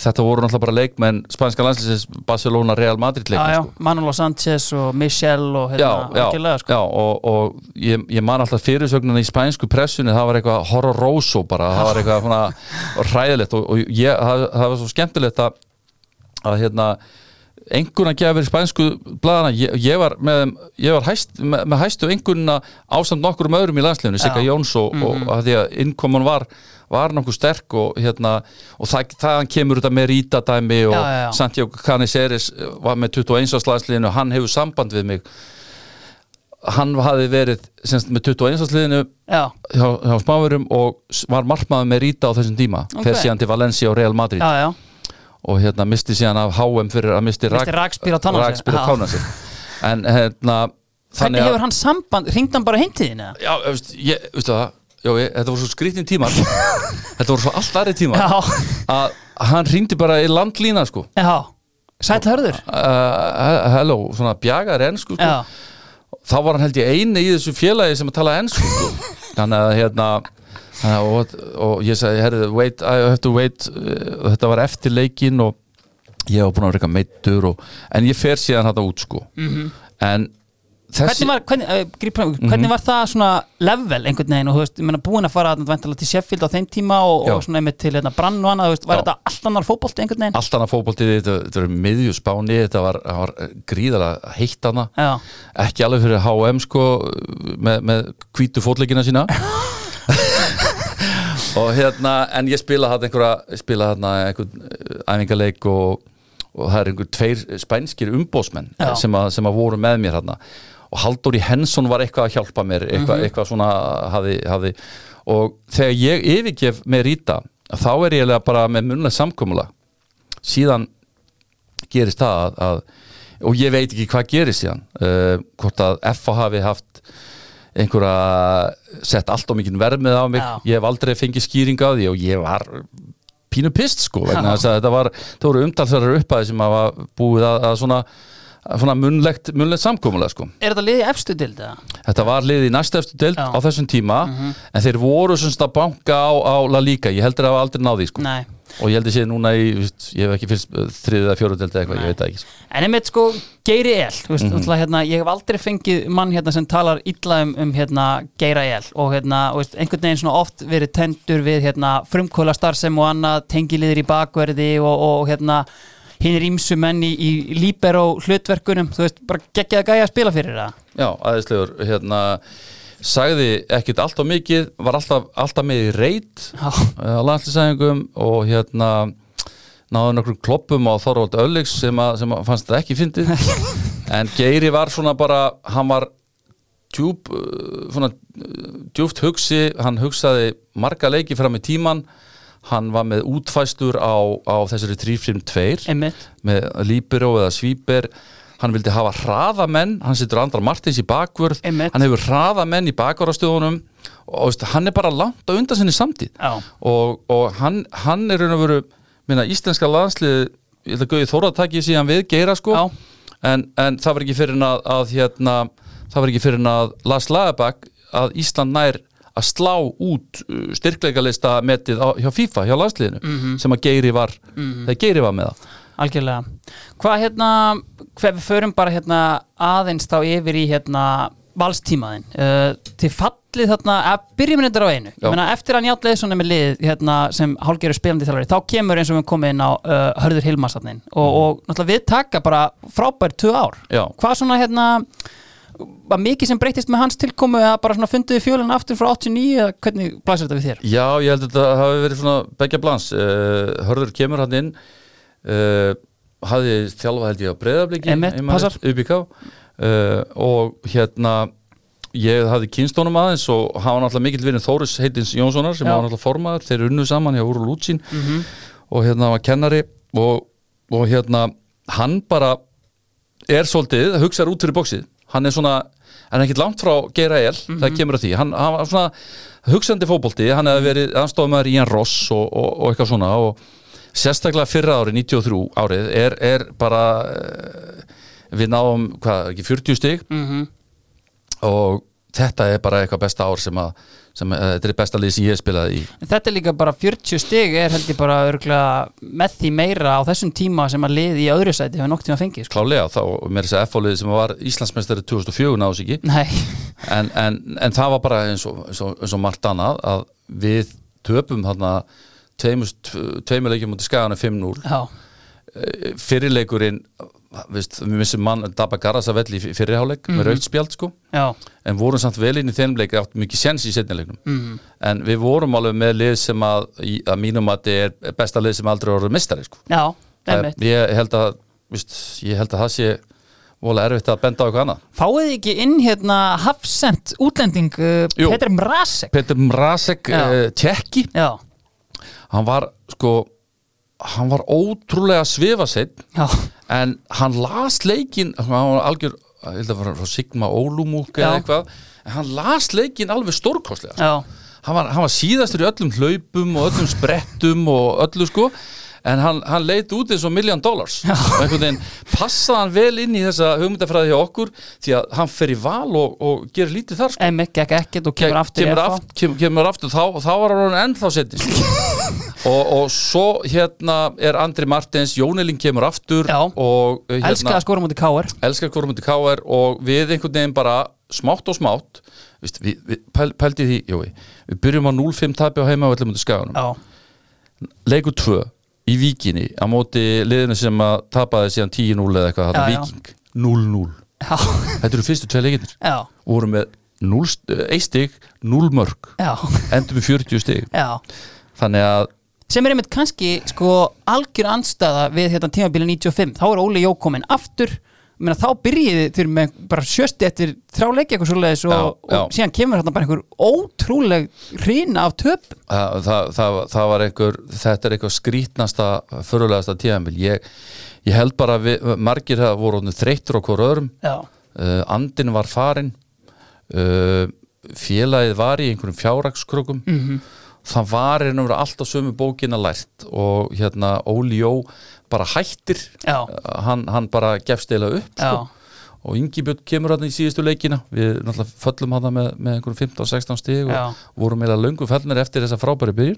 þetta voru náttúrulega bara leikmenn spænska landslýsins Barcelona Real Madrid já, leikmenn já, sko. Manolo Sanchez og Michel og Já, hérna, já, algjörlega sko. já, og, og ég, ég man alltaf fyrirsögnuna í spænsku pressunni, það var eitthvað horroroso bara, það var eitthvað svona ræðilegt og, og ég, það, það var svo skemmtilegt að, að hérna engun að gefa verið spænsku blaðana ég, ég var, með, þeim- ég var hæst, með, með hæstu engunna ásamt nokkrum öðrum í landslefinu, Sigga Já. Mhm. Jóns og, og að því að innkoman var var nokkuð sterk og hérna og það, þaðan kemur þetta með rítadæmi og Já, já, já. Santiago Caniceres var með 21 áslagsliðinu, hann hefur samband við mig hann hafði verið semst, með 21 ársliðinu Já, hjá, hjá Spáverum og s- var markmaður með Rita á þessum tíma Ok. okay. fer síðan til Valencia og Real Madrid já, já, og hérna misti síðan af HM fyrir að misti, Missti rakspír á tánna sér. rakspír Já. á tánna sig en hérna Hvernig að- hefur hann samband, hringd hann bara heimtíðin eða? já, veist, ég, veistu það, já, ég, þetta voru svo skrítin tímar þetta voru svo allt aðri tímar Já, að hann hringdi bara í landlína sko já, sæll hörður. uh, hello, svona bjagar ennsku sko. Já, þá var hann held ég eini í þessu félagi sem að tala ennsku sko. þannig að hérna þannig að, og, og ég sagði, herrðu, wait, I have to wait uh, þetta var eftir leikinn og ég var búin að vera eitthvað meittur og, en ég fer síðan þetta út sko -hmm. en þessi Mhm. hvernig Mhm. var, hvernig, uh, grípa, hvernig var það svona level einhvern veginn og þú veist, ég meina búin að fara vantala til Sheffield á þeim tíma og, Já. og svona einmitt til hérna, brann og annað, þú veist, var Já. þetta allt annar fótbolti einhvern veginn? allt annað fótboltið, þetta, þetta var miðjuspáni þetta var, það var gríðalega heitt hana Já, ekki alveg fyrir H&M sko með, með hvítu fótleikina sína og hérna en ég spila þarna einhverja ég spila þarna einhvern eh, æfingaleik og, og það er einhver tveir spænskir umbósmenn Já. sem að, sem að voru með mér þarna og Halldóri Hensson var eitthvað að hjálpa mér eitthvað, Mhm. eitthvað svona hafi, hafi og þegar ég yfirgef með Rita þá er ég eiginlega bara með munlega samkomula síðan gerist það að, að og ég veit ekki hvað gerist síðan uh, hvort að FH hafi haft einhverja sett allt á mikinn vermið á mig Já. ég hef aldrei fengið skýring á því og ég var pínu pist sko Já. vegna þess að þetta var, það voru umtalsverðar upphæði sem hafa búið að, að svona að svona munlegt, munlegt samkomulega sko er þetta liðið efstu til þetta? þetta var liðið í næsta eftir deild Já. Mhm. á þessum tíma en þeir voru svona að banka á, á La Liga, ég heldur að hafa aldrei náði sko Nei. og ég heldur sé núna í, veist, ég hef ekki fyrst þriðið að fjóruð deild eða eitthvað, ég veit það ekki sko. En einmitt sko, Geiri El, þú veist, mm hérna, ég hef aldrei fengið mann hérna sem talar illa um, um hérna, Geira El og hérna, þú veist, einhvern veginn svona oft verið tendur við hérna, frumkvöla starfsem og annað, tengiliðir í bakverði og, og hérna, hinn er ímsu menn í, í líberó hlutverkunum, þú veist, bara geggjaði gæja að spila fyrir það. Já, aðeinslegur, hérna sagði ekkert alltaf mikið var alltaf, alltaf með í reyt Já. á landslisæðingum og hérna náðu nokkrum kloppum á Þorvald Ölliks sem, að, sem að fannst þetta ekki fyndið en Geiri var svona bara hann var djúp, uh, svona, uh, djúpt hugsi hann hugsaði marga leiki fram í tíman hann var með útfæstur á, á þessari 3-5-2 Einmitt, með líbyró eða svíber hann vildi hafa hraðamenn hann setur Andra Martins í bakvörð Einmitt. hann hefur hraðamenn í bakvörðastöðunum og veist, hann er bara langt á undan sinni samtíð Já. og, og hann, hann er raun og veru minna, íslenska landslið ég ætla að Gauði Þóra takki síðan við Geira sko Já. en, en það var ekki fyrir en að, að hérna, það var ekki fyrir en að Lars Lagerbäck að Ísland nær að slá út uh, styrkleikalista metið á, hjá FIFA, hjá landsliðinu Mhm. sem að Geiri var, þegar Geiri var með það Algjörlega. Hvað hérna, hver við förum bara hérna aðeins þá yfir í hérna valstímaðin. Uh, til fallið þarna, að byrjum þetta á einu. Já. Ég meina eftir að njátt leðsson er með lið hérna, sem hálgeru spilandi þjálfari, þá kemur eins og við komum inn á uh, Hörður Hilmarsatnin og, og náttúrulega við taka bara frábær tvö ár. Mhm. Já. Hvað svona hérna, var mikið sem breytist með hans tilkomu eða bara svona funduði fjólinn aftur frá 89 eða hvernig blæsir þetta við þér? Já, ég held að þetta hafi verið svona begja blans, uh, Hörður kemur hann inn uh, hafði þjálfa held ég á breyðabliki Einmitt, passar. UBK uh, og hérna ég hafði kynstónum aðeins og hann var náttúrulega mikill vinur Þóris Heitins Jónssonar sem Já. var náttúrulega formaður, þeir unnu saman hjá Úru Lútsín og hérna hann var kennari og, og hérna hann bara er svolítið, hugsar út fyrir bóksið hann er svona, hann er ekkert langt frá Geira El, það kemur að því hann, hann var svona hugsandi fótbolti hann hefði verið, hann stóð með Ian Ross og, og, og eitthvað svona og sérstaklega fyrra árið, 93 árið er, er bara eh, við náðum, hvað, ekki 40 stig Mm -hmm. og þetta er bara eitthvað besta ár sem að sem, eh, þetta er besta lið sem ég hef spilaði í En Þetta er líka bara 40 stig er held ég bara örglega með því meira á þessum tíma sem að liði í öðru sæti hefur nokk tíma fengið sko. klálega, þá mér þess að F-fólið sem var Íslandsmeistari 2004 náðu sig ekki Nei, en, en, en það var bara eins og, eins og, eins og margt annað að við töpum þarna tveimur tveimur leikjum mútið skagana 5-0 já, Eh, fyrirleikurinn viðst, við missum mann Dabba Garras að velli í fyrirháleik með rautt spjald sko já, en vorum samt vel inn í þeim leik átt mikið sens í setni leiknum Mhm. en við vorum alveg með lið sem að, í- að mínum að þetta er besta lið sem aldrei voru mistari sko já, Það- einmitt. ég held að viðst, ég held að það sé vola erfitt að benda á eitthvað annað Fáið þið ekki inn hérna hafsend útlending uh, Jú. Petr Mrasek? Petur Mrazek, Já. uh, tjekki Já, hann var sko hann var ótrúlega svifaseitt já, en hann las leikin hann var algjör, ég held að vera frá Sigma Ólumúk eða Já. eitthvað en hann las leikin alveg stórkostlega sko. já, hann, var, hann var síðastur í öllum hlaupum og öllum sprettum og öllu sko en hann, hann leit út eins og million dollars og einhvern veginn passaði hann vel inn í þessa hugmyndafræði hjá okkur því að hann fer í val og, og gerir lítið þar sko einmitt, gekk ekkert og kemur aftur í kemur, FH. aft, kemur, kemur aftur þá, þá var hann ennþá setjast og, og svo hérna er Andri Martins, Jónelin kemur aftur Já. sko. og uh, Elskaði hérna, að skora mútið Káar elskar Kormundi K.R. og við einhvern veginn bara smátt og smátt Vist, við, við pæl, pældi því, jói við byrjum á 0-5 tapi á heima á öllum undir skaganum Já, leikur 2 í vikinni á móti liðinu sem að tapaði síðan 10-0 eða eitthvað, Já, þarna já. viking 0-0, já, þetta eru fyrstu tvei leikinnir já, og vorum með 0, st- eitt stig 0 mörg já, endur með 40 stig já þannig að sem er einmitt kannski sko algjör andstæða við hérna tímabili 95 þá er Óli Jó kominn aftur Ég meina, þá byrjiði þurr með bara sjösti eftir þrjá leiki eitthvað svoleiðis og, Já, já. og síðan kemur hérna bara einhver ótrúleg hrýna af töp það, það, það, það var einhver þetta er einhver skrítnasta förulegasta tíðanbíl ég, ég held bara að við, margir það voru orðnir þreyttur okkur öðrum já, uh, andin var farin uh, félagið var í einhverjum fjárrakskrökum Mhm. -hmm. það var einhverjum allt á sömu bókina lært og hérna Óli Jó bara hættir Já. Uh, hann, hann bara gefst eila upp Já. sko. og Ingibjörn kemur hann í síðustu leikina við náttúrulega föllum hann með, með einhverjum 15-16 stig og Já. Mhm. vorum eila löngu fellnir eftir þessa frábæri byrjun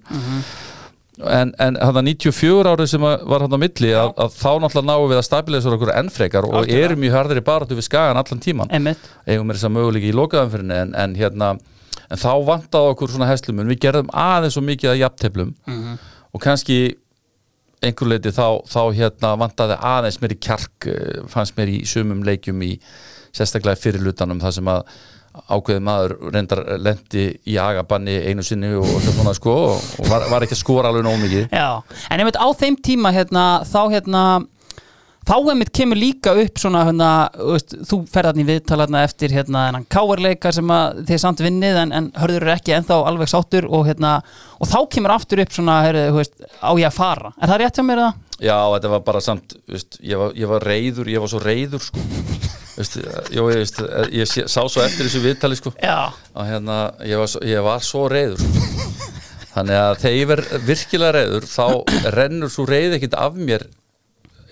en, en hann 94 árið sem að var hann á milli að, að þá náttúrulega náum við að stabilisera okkur enn frekar og Algjörlega. erum í hörðri baráttu við skagan allan tíman einmitt eigum er þess að möguleika í lokaðanfyrinni en, en hérna, en þá vantaði okkur svona heslumun, við gerðum aðeins svo mikið að jafnteflum og kannski einhver leiti þá, þá hérna vantaði aðeins mér í kjark eh, fannst mér í sumum leikjum í sérstaklega í fyrri lutanum þar sem að ákveði maður reyndar lendi í agabanni einu sinni og, og svona sko og, og var, var ekki að skora alveg nóg mikið já. en einmitt á þeim tíma hérna, þá hérna þá einmitt kemur líka upp svona hérna, þú veist, þú ferðarni viðtalarna eftir hérna þennan káarleika sem að þið samt vinnið en, en hörður er ekki ennþá alveg sáttur og hérna, og þá kemur aftur upp svona, heyrðu, þú veist, á ég að fara er það rétt hjá mér það? Já, þetta var bara samt, veist, ég, var, ég var reyður, ég var svo reyður sko veist, Jó, ég, veist, ég sé- sá svo eftir þessu viðtali sko Já, og hérna, ég var svo, ég var svo reyður sko. Þannig að þegar ég verð virkilega reyður þá rennur svo reyð ekkert af mér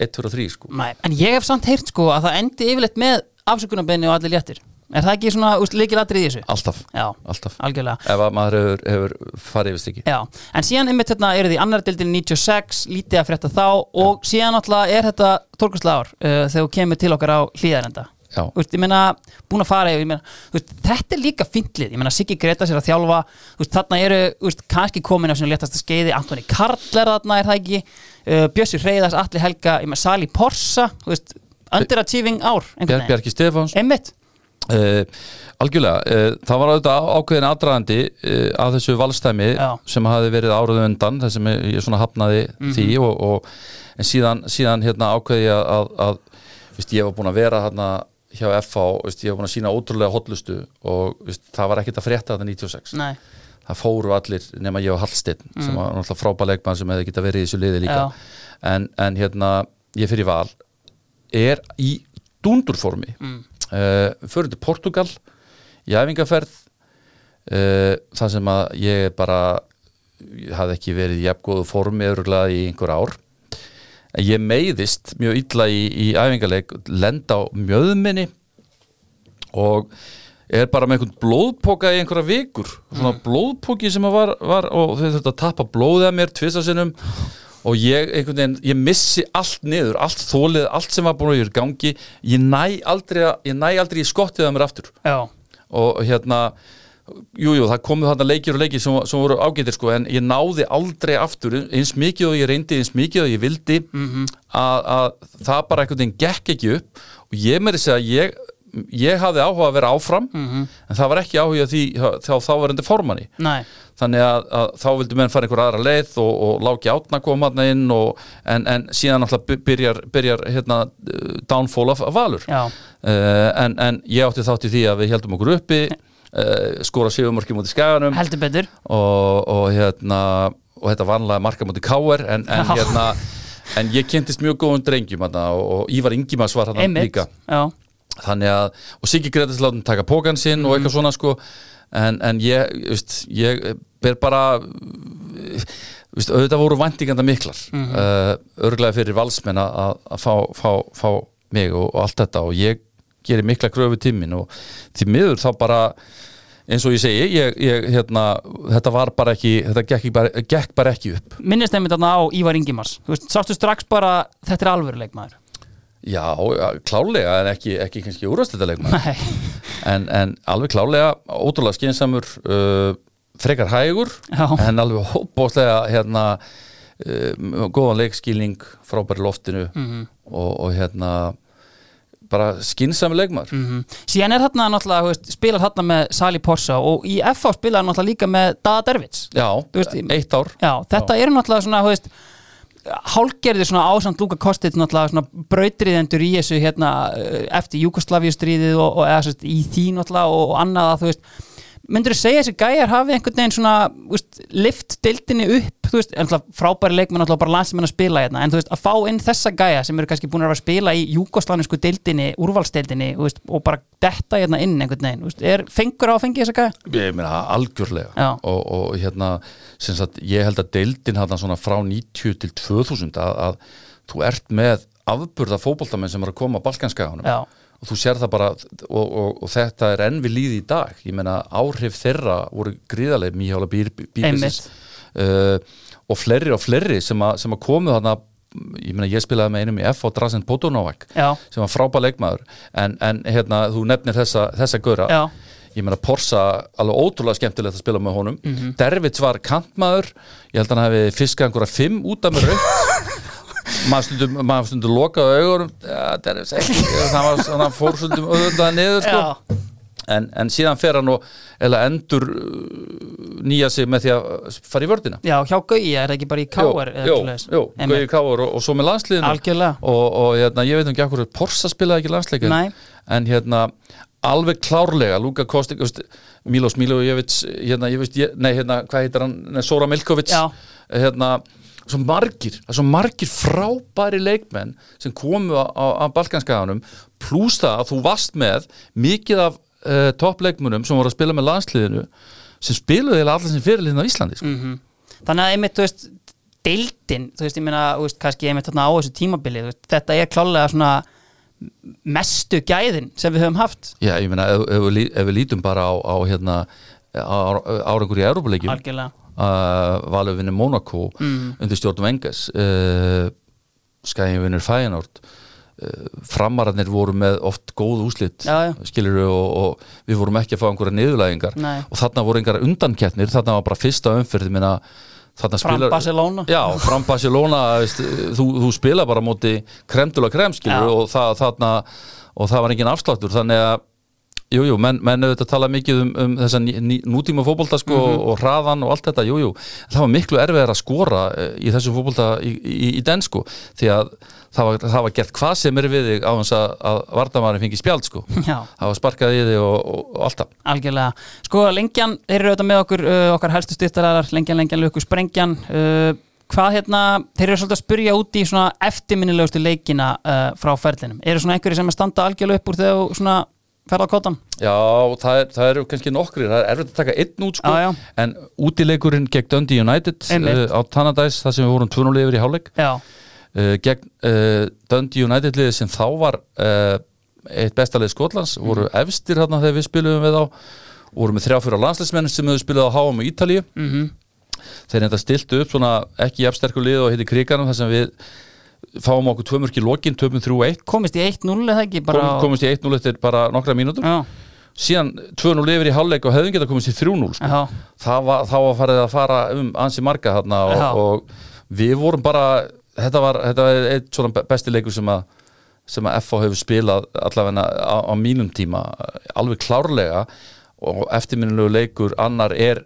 1, 2 og 3 sko Nei, en ég hef samt heyrt sko að það endi yfirleitt með afsökunarbeðni og allir léttir Er það ekki svona úst, líkilatrið í þessu? Alltaf, Já, alltaf algjörlega Ef að maður hefur, hefur farið yfir stykki Já, en síðan einmitt hérna eru því annar deildin 96, lítið að frétta þá og síðan alltaf er þetta tólkustlega ár uh, þegar þú kemur til okkar á hlýðarenda Já. Þú veist, ég meina, búin að fara yfir, ég meina, þú veist, þetta er líka fyndlið, ég meina, Siggi Greta sér að þjálfa, þú veist, þarna eru, þú veist, kannski komin á sinni léttasta skeiði, Antoni Karl er þarna, er það ekki, uh, Bjössi Hreyðars, Alli Helga, ég meina, Sali Porsa, þú veist, underachieving ár, Bjar, einhvern veginn, Bjarki Stefáns einmitt, Uh, algjörlega, uh, það var auðvitað ákveðin aðdraðandi uh, að þessu valstæmi Já. sem hafi verið áraðu undan þar sem ég ég svona hafnaði því og, og, en síðan, síðan hérna ákveði ég að, að veist, ég var búin að vera hérna hjá FH, veist, ég var búin að sína ótrúlega hotlustu og veist, það var ekkert að frétta þetta 96 nei, það fóru allir nema ég og Hallsteinn sem var náttúrulega frábæð leikmann sem hefði geta verið í þessu liði líka Já. en, en hérna, ég fyrir val er í dundurformi mm. uh, fyrir til Portugal í æfingaferð uh, þar sem að ég er bara ég hafði ekki verið í jafngóðu formi öruglega í einhver ár en ég meiðist mjög illa í, í æfingarleik lenda á mjöðminni og er bara með einhvern blóðpoka í einhverja vikur svona blóðpoki sem að var, var og þau þurftu að tappa blóðið að mér tvisa sinnum og ég einhvern veginn, ég missi allt niður, allt þólið, allt sem var búin að ég er gangi, ég næ aldrei að- ég næ aldrei í skottið að mér aftur já, og hérna jújú, jú, það komu þarna leikir og leikir sem, sem voru ágætir sko, en ég náði aldrei aftur eins mikið og ég reyndi, eins mikið og ég vildi að, að það bara einhvern veginn gekk ekki upp og ég meiri segja að ég, ég hafði áhuga að vera áfram en það var ekki áhuga því þá þá var endur formanni nei, þannig að, að þá vildu menn fara einhver aðra leið og, og lági átna koma hann inn og, en, en síðan alltaf byrjar, byrjar hérna, uh, downfall af af valur Já. Eh, en, en ég átti þátt í því að við heldum okkur uppi uh, skora sigumörki múti skaganum og, heldur betur, og, hérna, og þetta vanlega marka múti káer en, en, Já. hérna, en ég kynntist mjög góðum drengjum hana, og, og Ívar Ingimars var hann einmitt, líka já, þannig að, og Siggi Gretas látum taka pókan sinn og eitthvað svona sko en, en ég, þú veist, ég ber bara þú veist, auðvitað voru væntinganda miklar mm örglega fyrir valsmenn að- að að fá, fá, fá mig og, og allt þetta og ég gerir mikla kröfu tímin og því miður þá bara eins og ég segi, ég, ég, hérna, þetta var bara ekki, þetta gekk, ekki bara, gekk bara ekki upp minnist einmitt þarna á Ívar Ingimars, þú veist, sástu strax bara, þetta er alvöruleik maður, Já, klálega en ekki, ekki kannski úrvastættalegma nei, en, en alveg klálega ótrúlega skinsamur uh, frekar hægur Já. en alveg hópbóðslega hérna uh, góðan leikskilning frábæri loftinu Mhm. og, og hérna bara skinsamur leikmaður Mhm. síðan er þarna náttúrulega, þú veist, spilar þarna með Sali Porsa og í FH spilar hann náttúrulega líka með Dada Dervits Já, Þú veist, eitt ár já, þetta eru náttúrulega svona, þú veist hálgerðir svona ásamt Luka Kostic náttúrulega svona brautriðendur í þessu hérna eh, eftir Júkoslavíustríðið og, og eða sérst í því náttúrulega og, og annað að þú veist myndur þú segja að þessi gæjar hafi einhvern veginn svona þú veist, lift deildinni upp þú veist, en náttúrulega frábæri leikmenn náttúrulega bara landsmenn að spila hérna, en þú veist, að fá inn þessa gæja sem eru kannski búin að vera að spila í júkoslanisku deildinni, úrvalsdeildinni, þú veist, og bara detta hérna inn einhvern veginn, þú veist, er fengur á að fengi þessa gæja? Ég meina Já. algjörlega og, og hérna, sem sagt, ég held að deildin hérna svona frá 90 til 2000 að, að þú ert með afburða fótboltamenn sem eru að koma að balkanskaganum Já. og þú sér það bara og, og, og þetta er enn við líði í dag ég meina áhrif þeirra voru gríðarlega mjög hjála bíblisins uh, og fleiri og fleiri sem, a, sem að komu þarna ég meina ég spilaði með einum í F og Drasen Podonovac Já. sem var frábæð leikmaður en, en hérna þú nefnir þessa, þessa göra Já. ég meina Porsa alveg ótrúlega skemmtilegt að spila með honum Mhm. Dervits var kantmaður ég held að hann hafi fiskað einhverja fimm út af mér raukt maður stundum, maður stundum lokaði augurum ja, Dervits ekki hann, var, hann fór stundum auðvitað niður sko. Já. en, en síðan fer hann og eða endur uh, nýja sig með því að uh, fara í vördina Já, hjá Gauja er það ekki bara í Káar Jó, jó, jó, Gauji Káur og, og svo með landsliðinu Algjörlega. Og, og hérna, ég veit nú ekki akkur Porsa spilaði ekki landsleikin Nei. En hérna, alveg klárlega Luka Kostik, veist, Milos Milojevic hérna, ég veist, ég, nei, hérna, hvað heitir hann Nei, Sora Milkovic Já. hérna, svo margir, það er svo margir frábæri leikmenn sem komu á, á, á Balkanskaganum pluss það að þú varst með mikið af uh, toppleikmunum sem voru að spila með landsliðinu sem spiluðu eða allir sem fyrirliðin á Íslandi Mm. sko. þannig að einmitt, þú veist, deildin þú veist, ég meina, þú veist, kannski einmitt þarna á þessu tímabili, þú veist, þetta er klálega svona mestu gæðin sem við höfum haft Já, ég meina, ef, ef, við lí- ef við lítum bara á, á hérna, á, árangur í Európuleikjum algjörlega uh, Valur vinnur Monaco Mm. undir stjórn Vengas uh, Skæðin vinnur Fæjanort uh, framararnir voru með oft góð úslit Já, já. skilur við og, og við vorum ekki að fá einhverja niðurlægingar Nei. og þarna voru einhverja undankettnir þarna var bara fyrsta umferð ég meina, þarna Fram spilar Barcelona. já, fram Barcelona veist, þú, þú spila bara á móti kremdula kremskilur Já. og, það, þarna, og það var engin afsláttur þannig að Jú, jú, menn, menn auðvitað tala mikið um, um þessa ný, ný, nútíma fótbolta sko Mhm. og hraðan og allt þetta, jú, jú það var miklu erfiðar að skora eh, í þessum fótbolta í, í, í den sko því að það var, það var gert hvað sem er við þig á hans að, að vardamærin fengi spjald sko Já. það var sparkað í þig og, og, og allt það Algjörlega. Sko, lengjan, þeir eru auðvitað með okkur, uh, okkar helstu styrtaræðar, lengjan, lengjan, löku, sprengjan. Uh, hvað hérna, þeir eru svolítið að spurja út í svona eftirminnilegustu leikina uh, frá ferlinum. Eru svona einhverjir sem að standa algjörlega upp úr þegar þú svona ferða á kótan? Já, það, er, það eru kannski nokkrir, það er erfitt að taka einn út sko, Já, já. en útileikurinn gegn Dundee United Einmitt. uh, á Tannadice, það sem við vorum 2-0 yfir í hálfleik Já, uh, gegn uh, Dundee United liðið sem þá var uh, eitt besta lið Skotlands, Mhm. voru efstir þarna þegar við spilum við þá, voru með þrjá fyrir landslæsmenn sem hefur spilað á HM í Ítalíu Mhm. þeir enda stiltu upp svona ekki jafnsterku lið og heiti kriganum þar sem við fáum okkur tvö mörk í lokin, 2-3-1 komist í 1-0 eða ekki? Bara... Kom, komumst í 1-0 eftir bara nokkra mínútur Já, síðan 2-0 yfir í hálfleik og hefðum geta komist í 3-0 sko. já, það var, þá var farið að fara um ansi marga þarna Já. og, og við vorum bara þetta var, þetta var eitt svona be- besti leikur sem að sem að FH hefur spilað allavega á, á mínum tíma alveg klárlega og eftirminnulegu leikur annar er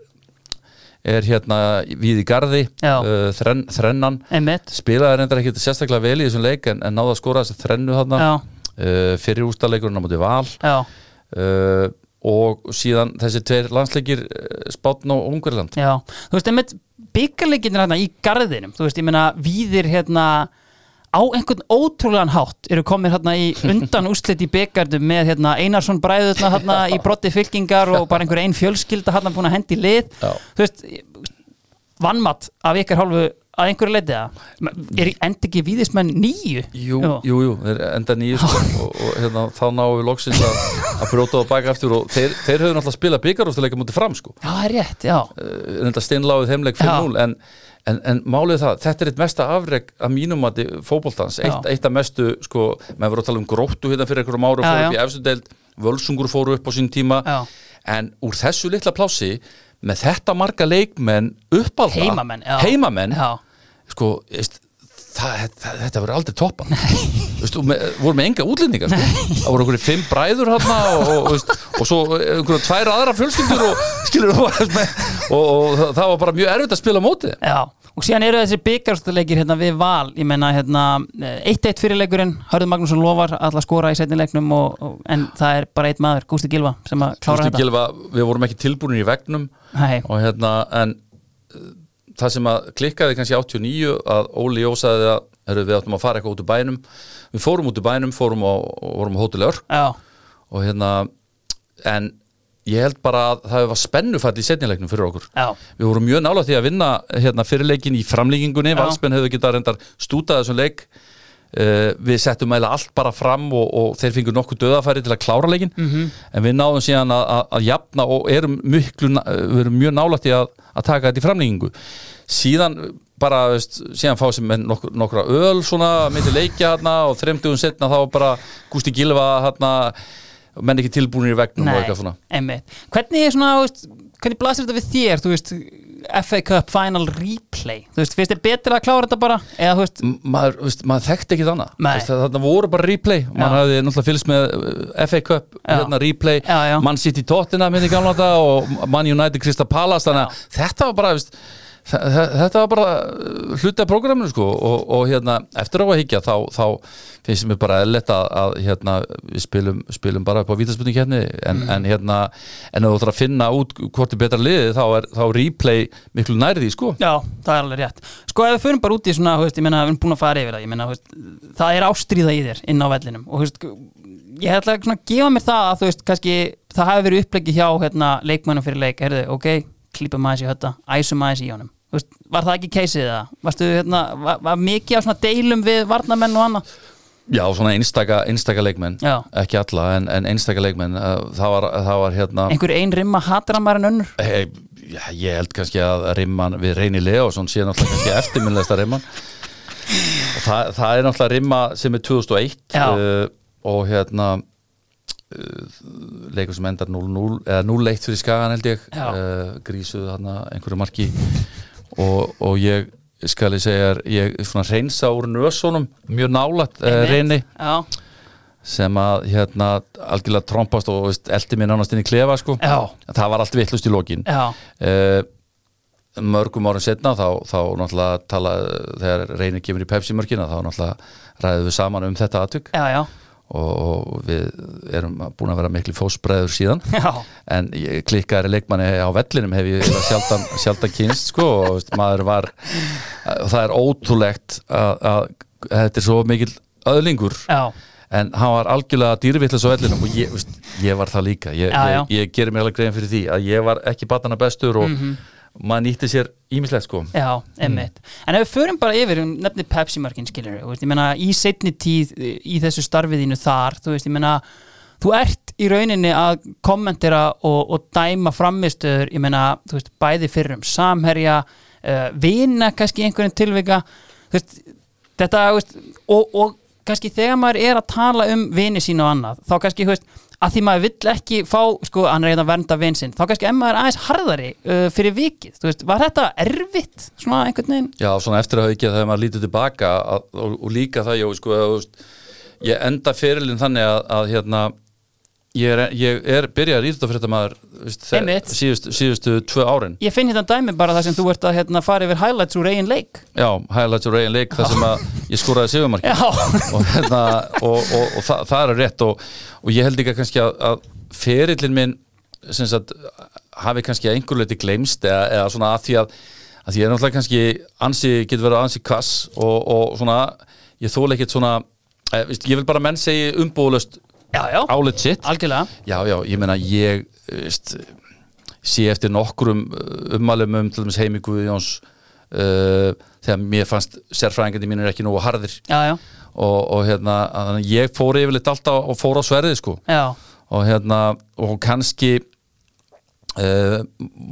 er hérna við í garði Já. uh, þrenn, þrennan einmitt. spilaði reyndar ekki sérstaklega vel í þessum leik en, en náða að skora þess að þrennu þarna Já, uh, fyrir ústaleikurinn á móti val já, uh, og síðan þessi tveir landsleikir Spátn og Ungverland já. Þú veist, einmitt, byggarleikinir hérna í garðinum, þú veist, ég meina, víðir hérna á einhvern ótrúlegan hátt eru komir hérna í undan úslit í byggardum með hérna Einarsson bræðurna hérna í brotti fylkingar og bara einhver ein fjölskylda hérna búin að hendi í lið Já. þú veist, vannmatt af ykkar hálfu að einhverju leiti það er endi ekki víðismenn nýju Jú, jú, jú, þeir enda nýju sko, og, og hérna, þá náum við loksins að, að brjóta á baka aftur og þeir, þeir höfðu náttúrulega spilað byggarústuleika mútið fram sko Já, það er rétt, já Eh, reynda steinláðið heimleik 5-0 en, en, en málið er það, þetta er eitt mesta afreg að mínum að fótboltans eitt, Já. eitt af mestu, sko, maður voru að tala um gróttu hérna fyrir einhverjum Já, árum, fóru já. upp í efstu deild völsungur fóru upp á sín tíma Já. en úr þessu litla plási með þetta marga leikmenn uppalda, Heimamenn, já. ah, heimamenn Já. sko, veist, það, það, þetta verður aldrei toppa veist, og með, voru með enga útlendingar sko. það voru einhverju fimm bræður hérna og, og, veist, og svo einhverju tvær aðra fjölskyldur og skilur og, og, og það það var bara mjög erfitt að spila á móti þeim. Já, og síðan eru þessi byggarstuleikir hérna við val, ég meina hérna eh, 1-1 fyrirleikurinn, Hörður Magnússon lofar alla skora í setnileiknum og, og, en það er bara eitt maður, Gústi Gilva sem að klára Gústi þetta Gilva, við vorum ekki tilbúinir í vegnum Nei. og hérna en uh, það sem að klikkaði kannski 89 að Óli Jó sagði að heyrðu, við áttum að fara eitthvað út úr bænum við fórum út úr bænum, fórum á, og vorum á Hotel Örk Já, og hérna en ég held bara að það var spennufall í setnilegnum fyrir okkur já, við vorum mjög nála því að vinna hérna, fyrirleikin í framlíkingunni, Já. valsmenn hefðu getað reyndar stútað þessum leik uh, við settum meðlega allt bara fram og, og þeir fengur nokkuð döðafæri til að klára leikin Mhm. -hmm. en við náðum síðan að, að, að jafna og erum, miklu, na- við erum mjög nála því að, að taka þetta í framlíkingu síðan bara, veist, síðan fá sem menn nokkur, nokkra öl svona myndi leikja hérna og þremtugum setna þá var bara Gústi Gilva hérna menn ekki tilbúinir í vegnum og nei, eitthvað svona einmitt Hvernig er svona, þú veist, hvernig blasir þetta við þér, þú veist, FA Cup Final Replay, þú veist, finnst þér betra að klára þetta bara, eða þú veist, M- maður, veist, maður þekkti ekki þannig Nei. veist, þarna voru bara replay og maður Já. hafði náttúrulega fylgst með uh, FA Cup Já. hérna replay, Já, já. hérna mann sitt í tóttina minni gamla þetta og mann United Krista Palace þannig að þetta var bara veist, þa- þa- þetta var bara uh, hluti af prógraminu sko og, og hérna eftir á að higgja þá, þá finnst mér bara eðlilegt að, að hérna við spilum, spilum bara upp á vítaspilning hérna en, Mm. en hérna en ef þú ætlar að finna út hvort er betra liðið þá er þá er replay miklu nærði sko Já, það er alveg rétt Sko ef við förum bara út í svona, þú veist, ég meina við erum búin að fara yfir það, ég meina, þú veist, það er ástríða í þér inn á vellinum og þú veist, ég ætla svona að gefa mér það að þú veist, kannski það hafi verið uppleggi hjá hérna, leikmönnum fyrir leik, heyrðu, ok klípum aðeins í hötta, æsum aðeins í honum Þú veist, var það ekki keisið það? Varstu, hérna, var, var mikið á svona deilum við varnamenn og annað? já svona einstaka, einstaka leikmenn Já. ekki alla en, en einstaka leikmenn uh, það var, það var hérna Einhver ein rimma hatar hann maður en önnur? Hey, já, ég held kannski að rimman við Reyni Leósson sé náttúrulega kannski eftirminnlegasta rimman og það, það er náttúrulega rimma sem er 2001 Já. uh, og hérna uh, leikur sem endar 0-0 eða 0-1 fyrir skagan held ég Já. uh, grísuðu þarna einhverju marki og, og ég skal ég segja þér, ég svona reynsa úr nösunum mjög nálægt uh, Reyni Já, sem að hérna algjörlega trompast og veist, eldi mér nánast inn í klefa sko Já. það var allt vittlust í lokin já, Eh, mörgum árum setna þá, þá náttúrulega tala þegar reynir kemur í Pepsi mörgina þá náttúrulega ræðum við saman um þetta atvik já, já, og, og við erum búin að vera miklu fósbreður síðan já. en ég- klikkaðari leikmanni á vellinum hef ég eiginlega sjaldan, sjaldan kynst sko og veist, maður var og það er ótrúlegt að, að þetta er svo mikill öðlingur Já, en hann var algjörlega dýrvillis á vellinum og ég, veist, ég var það líka ég, Já, Mhm. já. ég, ég gerir mér alveg grein fyrir því að ég var ekki batana bestur og maður nýtti sér ímislegt sko já, emmitt En ef við förum bara yfir, um nefni Pepsi-markin skilur við, ég meina í setni tíð eh, í þessu starfiðinu þar, þú veist, ég meina þú ert í rauninni að kommentera og, og dæma framistöður ég meina, þú veist, bæði fyrir um samherja, uh, vina kannski í einhverjum tilvika, þú veist þetta, þú veist, og, og kannski þegar maður er að tala um vini sín og annað, þá kannski, þú veist, að því maður vill ekki fá, sko, hann er einn að vernda vin sinn, þá kannski en maður er aðeins harðari uh, fyrir vikið, þú veist, var þetta erfitt svona einhvern veginn? Já, svona eftir að hafa ekki að þegar maður lítið tilbaka að, og, og líka það, já, sko að, þú veist, ég enda ferilinn þannig að, að hérna ég er, ég er byrjaði að fyrir þetta maður veist, þe- Einmitt. síðustu, síðustu tvö árin Ég finn hérna dæmi bara það sem þú ert að hérna, fara yfir highlights úr eigin leik Já, highlights og reygin leik þar sem að ég skoraði sigurmarki Já, og, hérna, og, og, og það, það er rétt og, og ég held ekki kannski að, að ferillin minn sem sagt, hafi kannski að einhver leiti gleymst eða, eða svona að því að, að því ég er náttúrulega kannski ansi, getur verið ansi kvass og, og svona, ég þóla ekkert svona eh, veist, ég vil bara að menn segi umbúðlust já, já, álit sitt algjörlega já, já, ég meina ég eh, veist, sé eftir nokkrum uh, ummælum um til dæmis Heimi Guðjóns uh, þegar mér fannst sérfræðingandi mínir ekki nógu harðir Já, já, og, og hérna að ég fór yfirleitt alltaf og fór á sverðið sko já, og hérna og kannski uh,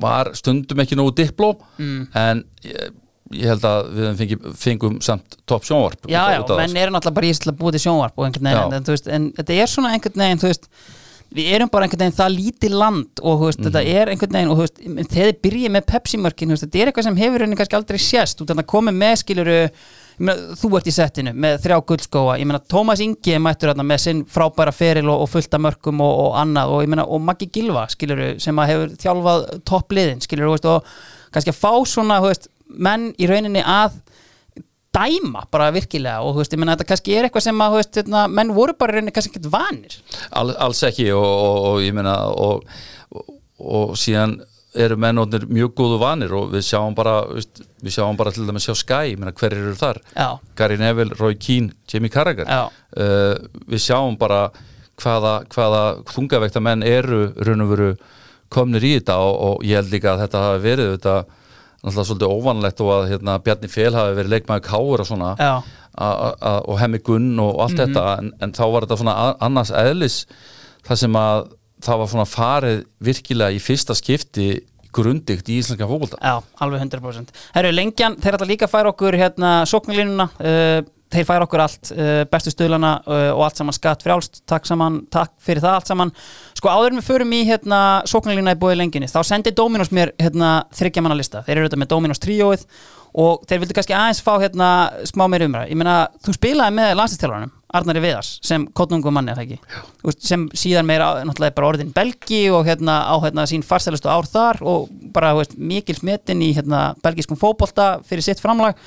var stundum ekki nógu dipló mm. en ég, ég held að við fengum, fengum samt topp sjónvarp já, út af- já út af menn þessu. eru náttúrulega bara í þess til að búa til sjónvarp og einhvern veginn, Já. en, þú veist, en þetta er svona einhvern veginn, þú veist við erum bara einhvern veginn það lítið land og þú veist, Mhm. þetta er einhvern veginn og þú veist, en þegar þið byrjið með Pepsi-mörkin, þú veist, þetta er eitthvað sem hefur henni kannski aldrei sést, þú veist, þannig að komið með skiluru meina, þú ert í settinu með þrjá guldskóa, ég meina Tómas Ingi er mættur þarna með sinn frábæra feril og, og fullta mörkum og, og annað og ég meina og Maggi Gilva skiluru sem að hefur þjálfað toppliðin skiluru þú veist, og kannski að fá svona þú veist, menn í rauninni að dæma bara virkilega og þú veist, ég menna þetta kannski er eitthvað sem að þú veist, hérna, menn voru bara í rauninni kannski ekkert vanir All, alls ekki og, og, og ég meina og, og, og síðan eru mennóðnir mjög góðu vanir og við sjáum bara veist, við sjáum bara til dæmis sjá Sky ég meina hverjir eru þar Já, Gary Neville, Roy Keane, Jamie Carragher Já. uh, við sjáum bara hvaða, hvaða þungavekta menn eru raun og veru komnir í þetta og, og ég held líka að þetta hafi verið þetta náttúrulega svolítið óvanlegt og að hérna, Bjarni Fél hafi verið leikmaður káur og svona Já. a- a- og hemmi gunn og allt þetta en, en þá var þetta svona a- annars eðlis þar sem að það var svona farið virkilega í fyrsta skipti grundigt í íslenska fókbólta já, alveg 100% Herru, lengjan, þeir ætla líka að færa okkur hérna sóknarlínuna, uh, þeir færa okkur allt uh, bestu stöðlana uh, og allt saman skatt frjálst, takk saman, takk fyrir það allt saman, sko áður en við förum í hérna sóknarlínuna í bóði lengjunni, þá sendi Dominos mér hérna þryggjamanna lista þeir eru þetta með Dominos tríóið og þeir vildu kannski aðeins fá hérna smá meir umræð, ég meina þú spilaði með landsistjálfaranum Arnari Viðars sem kottungum manni er það ekki Úst, sem síðan meira á- náttúrulega er bara orðin Belgi og hérna á hérna sín farsælustu ár þar og bara þú veist, mikil smetin í hérna belgiskum fótbolta fyrir sitt framlag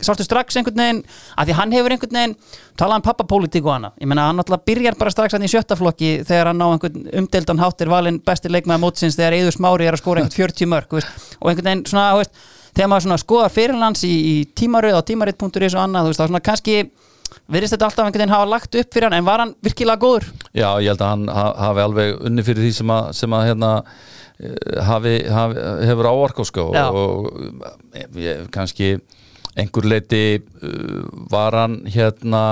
sástu strax einhvern veginn að því hann hefur einhvern veginn talað um pappapólitík og annað ég meina hann náttúrulega byrjar bara strax hann í sjötta flokki þegar hann á einhvern umdeldan háttir valinn besti leikmaði mótsins þegar Eður Smári er að skora einhvern 40 mörg veist, og einhvern veginn svona þú veist, þegar maður svona skoðar fyrirlands í, í tímaröð á tímarit.is og annað þú veist, þá svona kannski virðist þetta alltaf einhvern veginn hafa lagt upp fyrir hann en var hann virkilega góður Já, ég held að hann ha- hafi alveg unni fyrir því sem að, sem að hérna eh, hafi, hafi, hefur áorka sko Já. og eh, ég, kannski einhver leiti uh, var hann hérna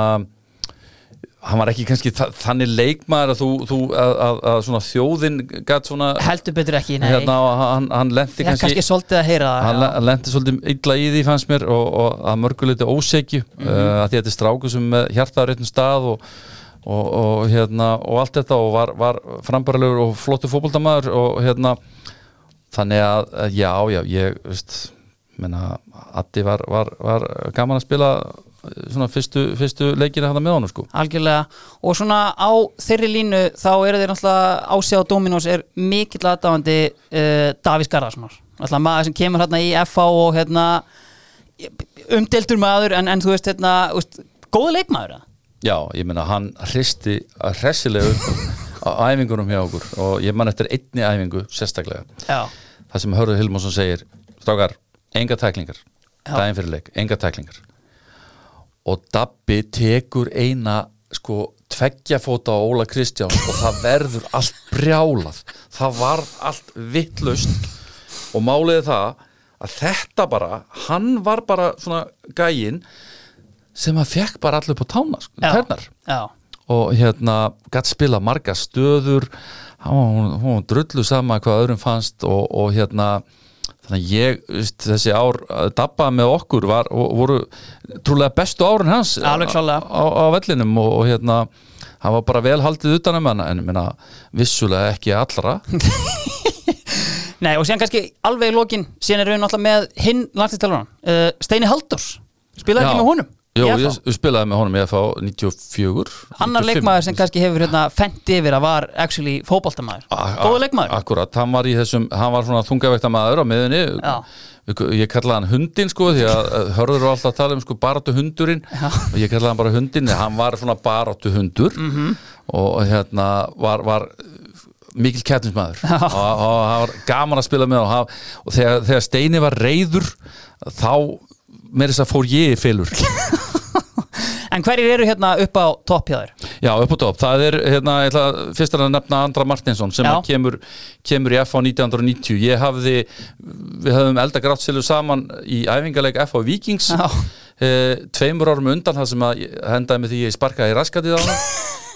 hann var ekki kannski þa þannig leikmaður að, þú, þú, að, að, að svona þjóðin gat svona heldur betur ekki, nei hérna og hann, hann lendi ég kannski svolítið að heyra hann það já. le- lendi svolítið illa í því fannst mér og, og að mörguleiti ósegju mm Mhm. uh, að því þetta er stráku sem hjartaður réttum stað og, og, og, hérna, og allt þetta og var, var frambaralegur og flottu fótboltamaður og hérna þannig að að já, já, ég veist, menna, Addi var, var, var gaman að spila eh, svona fyrstu, fyrstu leikina hann með honum sko algjörlega og svona á þeirri línu þá eru þeir náttúrulega Ási á Dominos er mikill aðdáðandi uh, Davís Garðarssonar náttúrulega maður sem kemur hérna í FH og hérna umdeltur maður en, en þú veist hérna úst, góð leikmaður eða? Já, ég meina hann hristi hressilega upp á æfingunum hjá okkur og ég man eftir einni æfingu sérstaklega já, það sem Hörður Hilmarsson segir strákar, enga tæklingar Já. daginn fyrir leik, enga tæklingar og Dabbi tekur eina sko tveggja fóta á Óla Kristján og það verður allt brjálað það var allt vittlust og máliði það að þetta bara, hann var bara svona gæinn sem að fekk bara allir upp á tána sko, já, tærnar já, og hérna gætt spila marga stöður hann var- hún, hún drullu sama hvað öðrum fannst og, og hérna þannig að ég, veist, þessi ár að dabba með okkur var, og voru trúlega bestu árin hans Alveg klárlega. á, á vellinum og, og hérna hann var bara vel haldið utanum hann en minna, vissulega ekki allra nei og síðan kannski alveg í lokin, síðan erum við náttúrulega með hinn landslýstalvaran, uh, Steini Halldórs spilaði Já. ekki með honum í Jó, FH. ég, ég spilaði með honum í FH 94 annar 95. leikmaður sem kannski hefur hérna fendt yfir að var actually fótboltamaður góðu leikmaður Akkurat, hann var í þessum, hann var svona þungavekta maður á miðunni Já. Ég kallaði hann hundin sko því að að hörður var alltaf að tala um sko baráttu hundurinn og ég kallaði hann bara hundin en hann var svona baráttu hundur Mhm. -hmm. og hérna var, var mikil kettinsmaður og og það var gaman að spila með og, hann- og þegar, þegar Steini var reyður þá með þess að fór ég í fylur en hverjir eru hérna upp á topp hjá þér Já, upp og topp, það er hérna, ég ætla að- fyrst er að nefna Andra Martinsson sem Já. að kemur, kemur í FH 1990 ég hafði, við höfum elda grátsilu saman í æfingarleik FH Vikings Já. eh, tveimur árum undan það sem að ég- hendaði með því ég sparkaði í raskatið á hann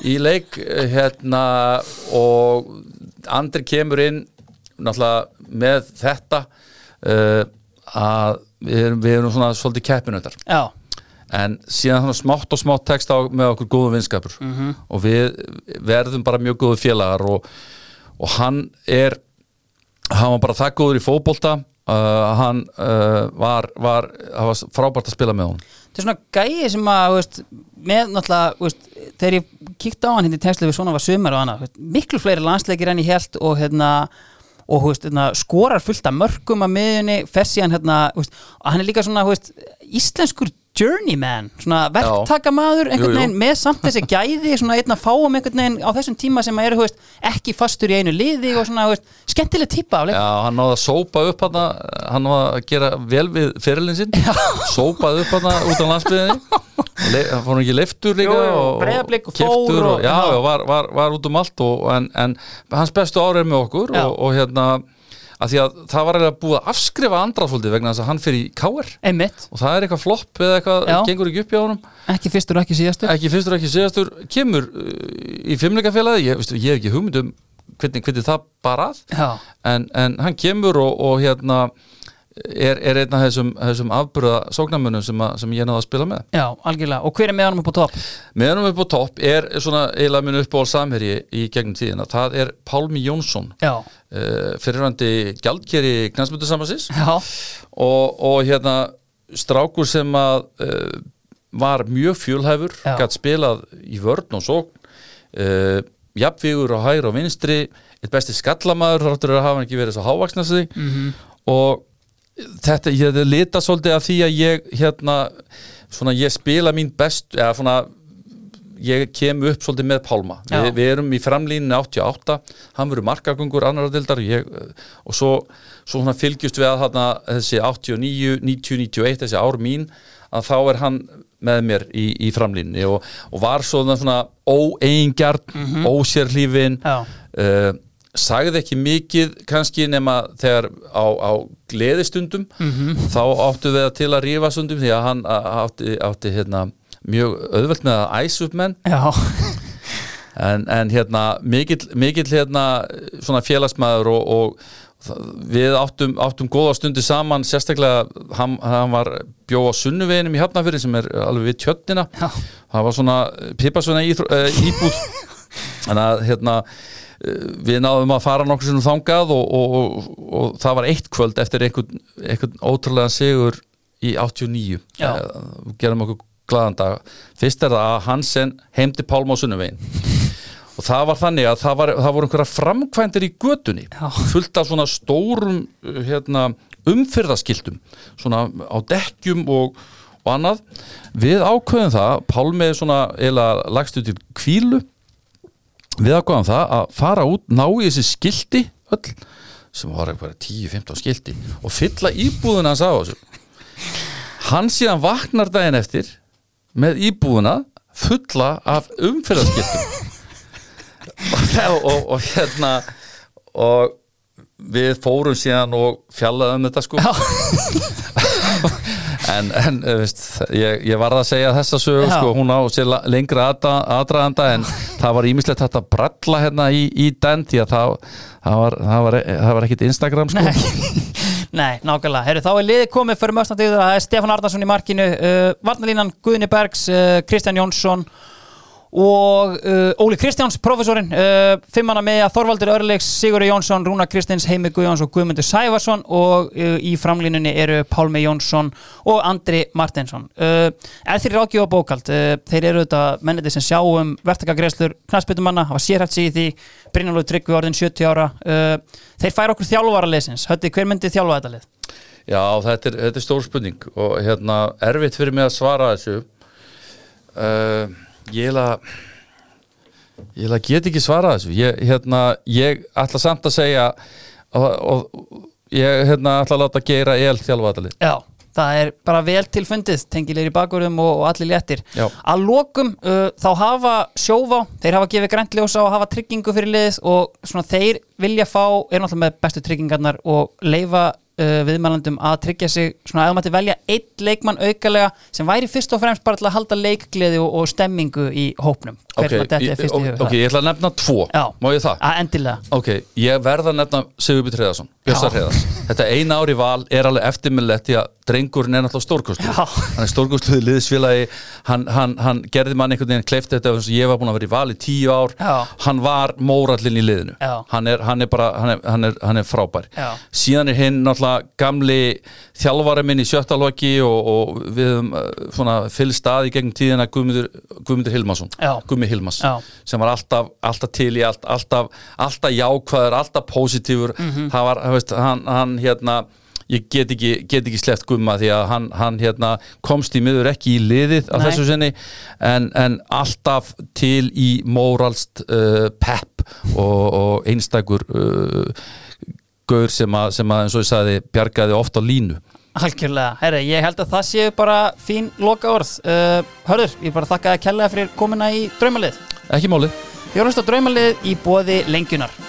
í leik eh, hérna og Andri kemur inn náttúrulega með þetta eh, að við erum, við erum svona svolítið keppinautar já, en síðan þannig smátt og smátt tekst á með okkur góðum vinskapur og við verðum bara mjög góðu félagar og, og hann er hann var bara það góður í fótbolta uh, hann uh, var, var, hann var frábært að spila með hún þetta er svona gæi sem að þú veist, með náttúrulega þú veist, þegar ég kíkti á hann hérna í tengslu við svona var sumar og annað þú veist, miklu fleiri landsleikir enn ég held og hérna og þú veist, hérna, skorar fullt af mörgum að miðjunni, fer síðan hérna þú veist, og hann er líka svona þú veist, íslenskur journeyman, svona verktakamaður einhvern Jú, jú. veginn með samt þessi gæði svona einn að fáum einhvern veginn á þessum tíma sem að eru þú veist, ekki fastur í einu liði og svona þú veist, skemmtileg típa af leik Já, hann náði að sópa upp hann hann var að gera vel við fyrirlin sinn sópaði upp hann út á landsbyðinni Le- hann fór ekki leiftur líka Jú, jú, og- Breiðablik og og keyptur Þór og- og, já, já, var, var, var út um allt og, en, en hans bestu árið með okkur Já. og, og hérna að því að það var eiginlega búið að afskrifa andra svolítið vegna þess að hann fyrir í KR einmitt, og það er eitthvað flopp eða eitthvað Já. gengur ekki upp hjá honum ekki fyrstur og ekki síðastur ekki fyrstur ekki síðastur kemur uh, í fimmleikafélagi ég, veistu, ég hef ekki hugmynd um hvernig, hvernig það barað Já. en, en hann kemur og, og hérna er, er einn af þessum, þessum afbröða sóknarmönnum sem, að, sem ég náði að spila með Já, algjörlega, og hver er með honum upp á topp? meðanum upp á topp er svona eiginlega minn uppból samherji í gegnum tíðina það er Pálmi Jónsson Já, uh, fyrirvændi gjaldkeri knæsmyndu samansins já, og, og hérna strákur sem að uh, var mjög fjölhæfur, Já. gætt spilað í vörn og sókn uh, jafnvígur á hægri og vinstri eitt besti skallamaður þáttur að hafa hann ekki verið svo hávaksna sig Mhm. -hmm. og þetta, ég þetta lita svolítið af því að ég hérna, svona ég spila mín best eða svona ég kem upp svolítið með Pálma Já. Vi, við erum í framlíninu 88 hann verður markagöngur annar dildar ég, eh, og svo, svo svona fylgjust við að þarna, þessi 89, 90, 91 þessi ár mín að þá er hann með mér í, í framlíninu og, og var svona, svona óeingjart mm -hmm. ósérlífin Já. Eh, sagði ekki mikið kannski nema þegar á, á gleðistundum þá áttu við að til að rífa stundum því að hann a- átti, átti hérna, mjög auðvelt með að æsa upp menn Já, en, en hérna mikill, mikill hérna svona félagsmaður og, og það- við áttum, áttum góða stundi saman sérstaklega hann, hann var bjó á sunnuveginum í Hafnafyrir sem er alveg við tjötnina já, það var svona pipasvöna uh, íbúð þannig að hérna eh, við náðum að fara nokkur sinnum þangað og, og, og, og það var eitt kvöld eftir einhvern, einhvern ótrúlega sigur í 89 Já. Eh, við gerum okkur glaðan dag fyrst er það að Hansen heimdi Pálma á sunnumvegin og það var þannig að það, var, það voru einhverja framkvæmdir í götunni Já. fullt af svona stórum uh, hérna, umfyrðaskiltum svona á dekkjum og, og annað við ákveðum það, Pálmi er svona eila lagstu til kvílu við ákveðum það að fara út ná í þessi skilti öll sem var eitthvað 10-15 skilti og fylla íbúðuna hans á þessu hann síðan vaknar daginn eftir með íbúðuna fulla af umfyrðaskiltum og, og, og hérna og við fórum síðan og fjallaðum þetta sko en, en eh, veist, ég, ég varð að segja þessa sögu Já. sko, hún á sér la- lengra aðda- aðdraganda en það var ímislegt hægt að bralla hérna í, í den því að það, það, var, það, var, það var ekkit Instagram sko. nei Nei, nákvæmlega, Heru, þá er liðið komið fyrir möstandið það er Stefán Arnarsson í markinu uh, Varnalínan Guðni Bergs, uh, Kristján Jónsson og uh, Óli Kristjáns, professorinn uh, fimmana með að Þorvaldur Örleiks, Sigurður Jónsson Rúna Kristins, Heimi Guðjóns og Guðmundur Sævarsson og uh, í framlínunni eru Pálmi Jónsson og Andri Martinsson uh, eða þeir eru ágjöf og bókald uh, þeir eru þetta menniti sem sjá um verktakagreislur knastbytumanna, hafa sérhætt sig í því Brynjálfur Tryggvi orðin 70 ára uh, þeir færa okkur þjálfara leysins Hötti, hver myndi þjálfa þetta lið? Já, þetta er, þetta er stór spurning og hérna, erfitt fyrir mig að svara þessu uh, Ég heila ég heila get ekki svarað þessu ég, hérna, ég ætla samt að segja og, og ég hérna, ætla að láta geira el þjálfaðalið Já, það er bara vel til fundið tengilegir í bakurðum og, og allir léttir Já. að lokum uh, þá hafa sjóvá, þeir hafa gefið grænt ljósa og hafa tryggingu fyrir liðið og svona þeir vilja fá, er náttúrulega með bestu tryggingarnar og leifa uh, viðmælandum að tryggja sig, svona að maður velja einn leikmann aukalega sem væri fyrst og fremst bara til að halda leikgleði og, og stemmingu í hópnum hvernig þetta er ég, fyrst í ok, hug ok, ég ætla að nefna tvo, Já. má ég það? að endilega, Ok, ég verða að nefna Sigurbjörn Hreðarsson, Björsa Já. Hreðars Þetta eina ári val er alveg eftirminnlegt því að drengurinn er náttúrulega stórkostur Já. Hann er stórkostur í liðsfélagi hann, hann, hann gerði mann einhvern veginn kleift þetta eins og ég var búin að vera í val í tíu ár Já. Hann var mórallinn í liðinu Já. hann er, hann er bara, hann er, hann er, hann er frábær Já. Síðan er hinn náttúrulega gamli þjálfari minn í sjötta loki og, og við höfum eh, svona fylgst að í gegnum tíðina Guðmundur, Guðmundur Hilmason Já. Gummi Hilmas Já. sem var alltaf, alltaf til í allt, alltaf, alltaf jákvæður, alltaf pósitífur það var, það veist, hann, hann hérna ég get ekki, get ekki sleppt gumma því að hann, hann hérna komst í miður ekki í liðið að Nei. þessu sinni en, en alltaf til í móralst uh, pepp og, og einstakur uh, gaur sem að, sem að eins og ég sagði bjargaði ofta línu algjörlega herri, ég held að það séu bara fín loka orð uh, hörður, ég bara þakka að kella fyrir komina í draumalið ekki málið Fjórnast á draumalið í bóði lengjunar.